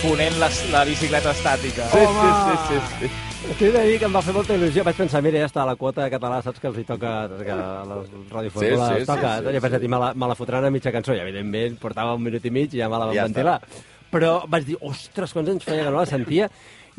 Speaker 6: Fonent la, la bicicleta estàtica.
Speaker 4: Home! Sí, sí, sí, sí. T'he de dir que em va fer molta il·lusió. Vaig pensar, mira, ja està la quota de català, saps que els hi toca, que a les radioformules
Speaker 3: Sí, sí,
Speaker 4: els toca.
Speaker 3: sí, sí,
Speaker 4: jo pensat,
Speaker 3: sí.
Speaker 4: i me la, me la fotran a mitja cançó. I, evidentment, portava un minut i mig i ja me la van
Speaker 3: Ja
Speaker 4: ja
Speaker 3: està.
Speaker 4: ventilar. Però vaig dir, ostres, quants anys feia que no la sentia.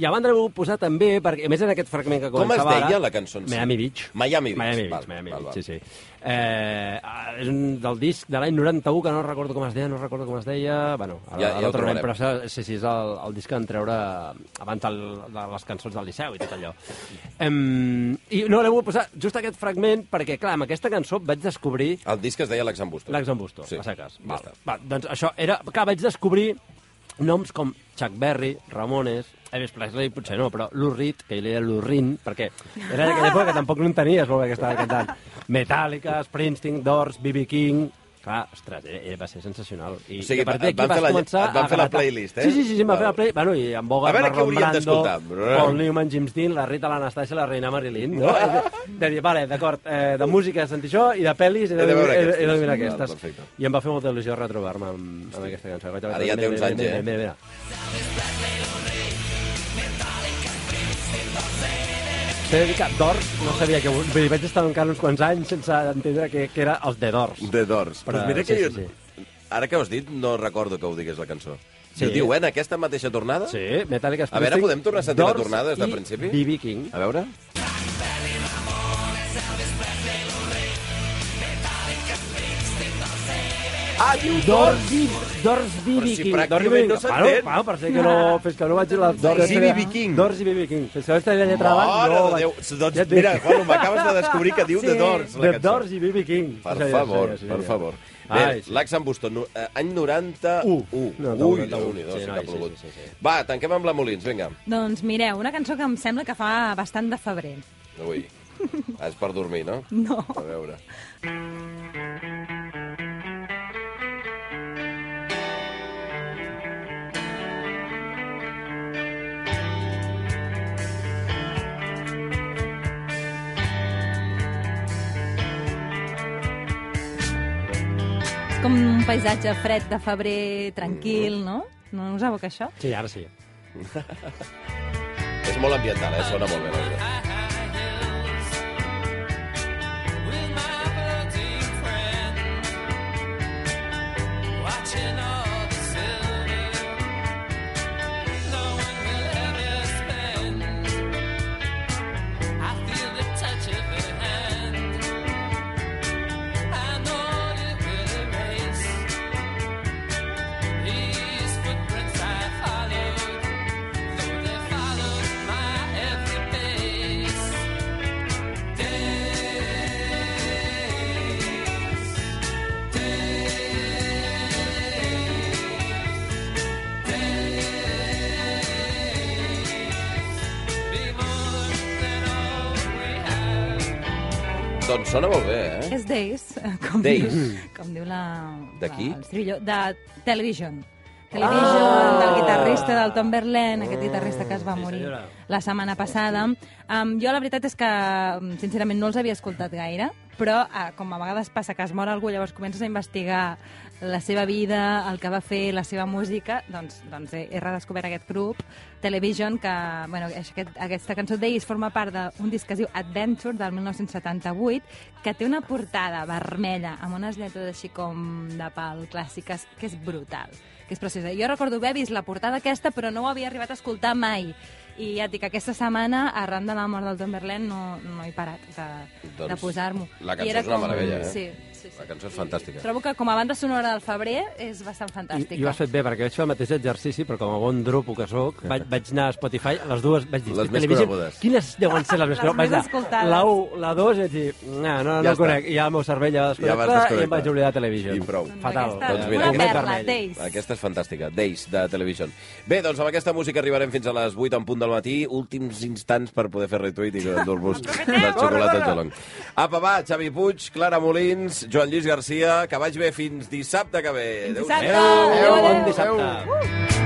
Speaker 4: I abans l'heu posar també, perquè, a més en aquest fragment que
Speaker 3: Com es
Speaker 4: començava
Speaker 3: deia
Speaker 4: ara,
Speaker 3: la cançó en si?
Speaker 4: Miami Beach.
Speaker 3: Miami Beach,
Speaker 4: Miami Beach,
Speaker 3: val,
Speaker 4: Miami
Speaker 3: val,
Speaker 4: Beach,
Speaker 3: val.
Speaker 4: sí, sí. Eh, ah, és un del disc de l'any 91, que no recordo com es deia, no recordo com es deia... Bueno,
Speaker 3: Ja-
Speaker 4: ara,
Speaker 3: ja
Speaker 4: ja,
Speaker 3: ho
Speaker 4: ja el trobarem,
Speaker 3: trobarem.
Speaker 4: però això, sí, sí, és el, el disc que van treure abans el, de les cançons del Liceu i tot allò. Um, I no, l'heu posat just aquest fragment perquè, clar, amb aquesta cançó vaig descobrir
Speaker 3: El disc es deia L'Exambusto.
Speaker 4: l'exambusto,
Speaker 3: Sí,
Speaker 4: sí. a saques.
Speaker 3: ja
Speaker 4: Val.
Speaker 3: està.
Speaker 4: Va, doncs això era... Clar, vaig descobrir noms com Chuck Berry, Ramones, Elvis Presley, potser no, però Lou Reed, que ell era Lou Reed, perquè era d'aquella època que tampoc no en tenies molt bé que estava cantant. Metallica, Springsteen, Doors, B.B. King... Clar, ostres, era, era, va ser sensacional. I,
Speaker 3: O sigui,
Speaker 4: i a partir
Speaker 3: et
Speaker 4: d'aquí
Speaker 3: van fer
Speaker 4: vas
Speaker 3: la-
Speaker 4: començar
Speaker 3: et van
Speaker 4: a
Speaker 3: fer la
Speaker 4: gratar.
Speaker 3: playlist, eh?
Speaker 4: Sí, sí, sí, sí em va fer
Speaker 3: Val.
Speaker 4: la playlist. Bueno, i en Bogart,
Speaker 3: A veure què
Speaker 4: Marlon
Speaker 3: hauríem
Speaker 4: Brando,
Speaker 3: d'escoltar.
Speaker 4: Paul Newman, James Dean, la Rita, l'Anastàcia, la reina Marilyn, no? De, de dir, vale, d'acord, eh, de música sentir això i de pel·lis he de,
Speaker 3: He de veure
Speaker 4: he, he de
Speaker 3: aquestes. Val,
Speaker 4: mirar aquestes.
Speaker 3: perfecte.
Speaker 4: I em va fer molta il·lusió retrobar-me amb, amb aquesta cançó. Vaig a-
Speaker 3: Ara ja té
Speaker 4: mira,
Speaker 3: uns
Speaker 4: mira,
Speaker 3: anys,
Speaker 4: mira,
Speaker 3: eh?
Speaker 4: Mira, mira. T'he de dir que d'Ors no sabia que... Vull dir, vaig estar encara uns quants anys sense entendre que, que era els de Dors.
Speaker 3: De Dors.
Speaker 5: Doncs
Speaker 4: Però-
Speaker 3: Però, pues mira que
Speaker 4: sí,
Speaker 3: sí, jo...
Speaker 4: sí,
Speaker 3: Ara que ho has dit, no recordo que ho digués la cançó.
Speaker 4: Sí.
Speaker 3: Sí. Ho diu, eh, en aquesta mateixa tornada?
Speaker 4: Sí, Metallica
Speaker 3: A veure, podem tornar a sentir la tornada des de
Speaker 4: i
Speaker 3: principi?
Speaker 4: B.B. King.
Speaker 3: A veure... Ah, diu Dors!
Speaker 4: Dors i... Dors
Speaker 3: Però
Speaker 4: i B.B.
Speaker 3: si
Speaker 4: King.
Speaker 3: pràcticament no
Speaker 4: Claro,
Speaker 3: s'entén. Ah.
Speaker 4: claro, per ser que no... Fins que no vaig dir la...
Speaker 3: Dors i B.B. King.
Speaker 4: Dors i B.B. King. Fins que no vaig tenir la lletra abans,
Speaker 3: Mare
Speaker 4: no...
Speaker 3: de
Speaker 4: vaig-
Speaker 3: Déu! Doncs
Speaker 4: Ja et dic.
Speaker 3: mira, Juan, m'acabes de descobrir que diu
Speaker 5: Sí.
Speaker 3: The Doors, la
Speaker 4: The
Speaker 3: cançó.
Speaker 4: Doors i B.B. King.
Speaker 3: Per
Speaker 4: Sí, sí,
Speaker 3: favor,
Speaker 4: sí, sí,
Speaker 3: per
Speaker 4: sí.
Speaker 3: favor. Bé,
Speaker 4: Ai, sí.
Speaker 3: l'Axan Buston, no, eh, any 91.
Speaker 4: U.
Speaker 3: Ui,
Speaker 4: 91,
Speaker 3: Ui
Speaker 4: 91,
Speaker 3: déu nhi
Speaker 4: sí,
Speaker 3: sí, que
Speaker 4: noi,
Speaker 3: ha
Speaker 4: sí,
Speaker 3: plogut.
Speaker 4: sí, sí, sí.
Speaker 3: Va, tanquem amb la Molins, vinga.
Speaker 5: Doncs mireu, una cançó que em sembla que fa bastant de febrer.
Speaker 3: Ui, Ah, és per dormir, no?
Speaker 5: No.
Speaker 3: A veure.
Speaker 5: com un paisatge fred de febrer,
Speaker 3: Mm.
Speaker 5: tranquil, no? No us aboca això?
Speaker 4: Sí, ara sí.
Speaker 3: És molt ambiental, eh? Sona molt bé. la veritat. Doncs sona molt bé, eh?
Speaker 5: És Days, com,
Speaker 3: Days.
Speaker 5: Diu, com diu la...
Speaker 3: De
Speaker 5: la-
Speaker 3: qui?
Speaker 5: El Strillo, de Television. Television, ah! del guitarrista del Tom Berlin, aquest guitarrista que es va
Speaker 4: sí,
Speaker 5: morir
Speaker 4: senyora.
Speaker 5: la setmana passada. Um, jo la veritat és que, mm, sincerament, no els havia escoltat gaire, però uh, com a vegades passa que es mor algú, llavors comences a investigar la seva vida, el que va fer, la seva música, doncs, doncs he, he redescobert aquest grup, Television, que bueno, és aquest, aquesta cançó d'ells forma part d'un disc que es diu Adventure, del 1978, que té una portada vermella amb unes lletres així com de pal clàssiques, que és brutal, que és preciosa. Jo recordo haver vist la portada aquesta, però no ho havia arribat a escoltar mai. I ja et dic, aquesta setmana, arran de la mort del Tom Berlín, no, no he parat de,
Speaker 3: Doncs
Speaker 5: de posar-m'ho.
Speaker 3: la
Speaker 5: I
Speaker 3: cançó
Speaker 5: era
Speaker 3: és una meravella, eh?
Speaker 5: Sí, sí, sí.
Speaker 3: La cançó és fantàstica.
Speaker 5: Trobo que com a banda sonora del febrer és bastant
Speaker 4: I,
Speaker 5: fantàstica.
Speaker 4: I ho has fet bé, perquè vaig fer el mateix exercici, però com a bon dropo que sóc, vaig, vaig anar a Spotify, les dues vaig dir...
Speaker 3: Les
Speaker 4: "Estic
Speaker 3: més
Speaker 4: televisant,
Speaker 3: conegudes."
Speaker 4: Quines deuen ser les més
Speaker 5: Les
Speaker 4: conegudes?
Speaker 5: més
Speaker 4: Vaig anar
Speaker 5: escoltades.
Speaker 4: La 1, la 2, i vaig dir... No, no,
Speaker 3: Ja
Speaker 4: no
Speaker 3: està.
Speaker 4: ho conec. I ja el meu cervell ja va
Speaker 3: Ja vas
Speaker 4: desconnectar i em
Speaker 3: desconnectar.
Speaker 4: vaig oblidar de televisió.
Speaker 3: I prou. Doncs
Speaker 4: Fatal.
Speaker 5: aquesta-
Speaker 3: Doncs mira,
Speaker 5: una
Speaker 3: aquesta-
Speaker 5: perla,
Speaker 4: vermell.
Speaker 5: Days.
Speaker 3: Aquesta és fantàstica, Days, de Television. Bé, doncs amb aquesta música arribarem fins a les 8 en punt del matí, últims instants per poder fer retuit i endur-vos la xocolata al gelong. Apa, va, Xavi Puig, Clara Molins, Joan Lluís Garcia, que vaig bé fins dissabte que ve. Adéu-siau.
Speaker 5: Dissabte. Adéu,
Speaker 4: Adéu,
Speaker 5: adéu.
Speaker 4: bon dissabte.
Speaker 5: Uh!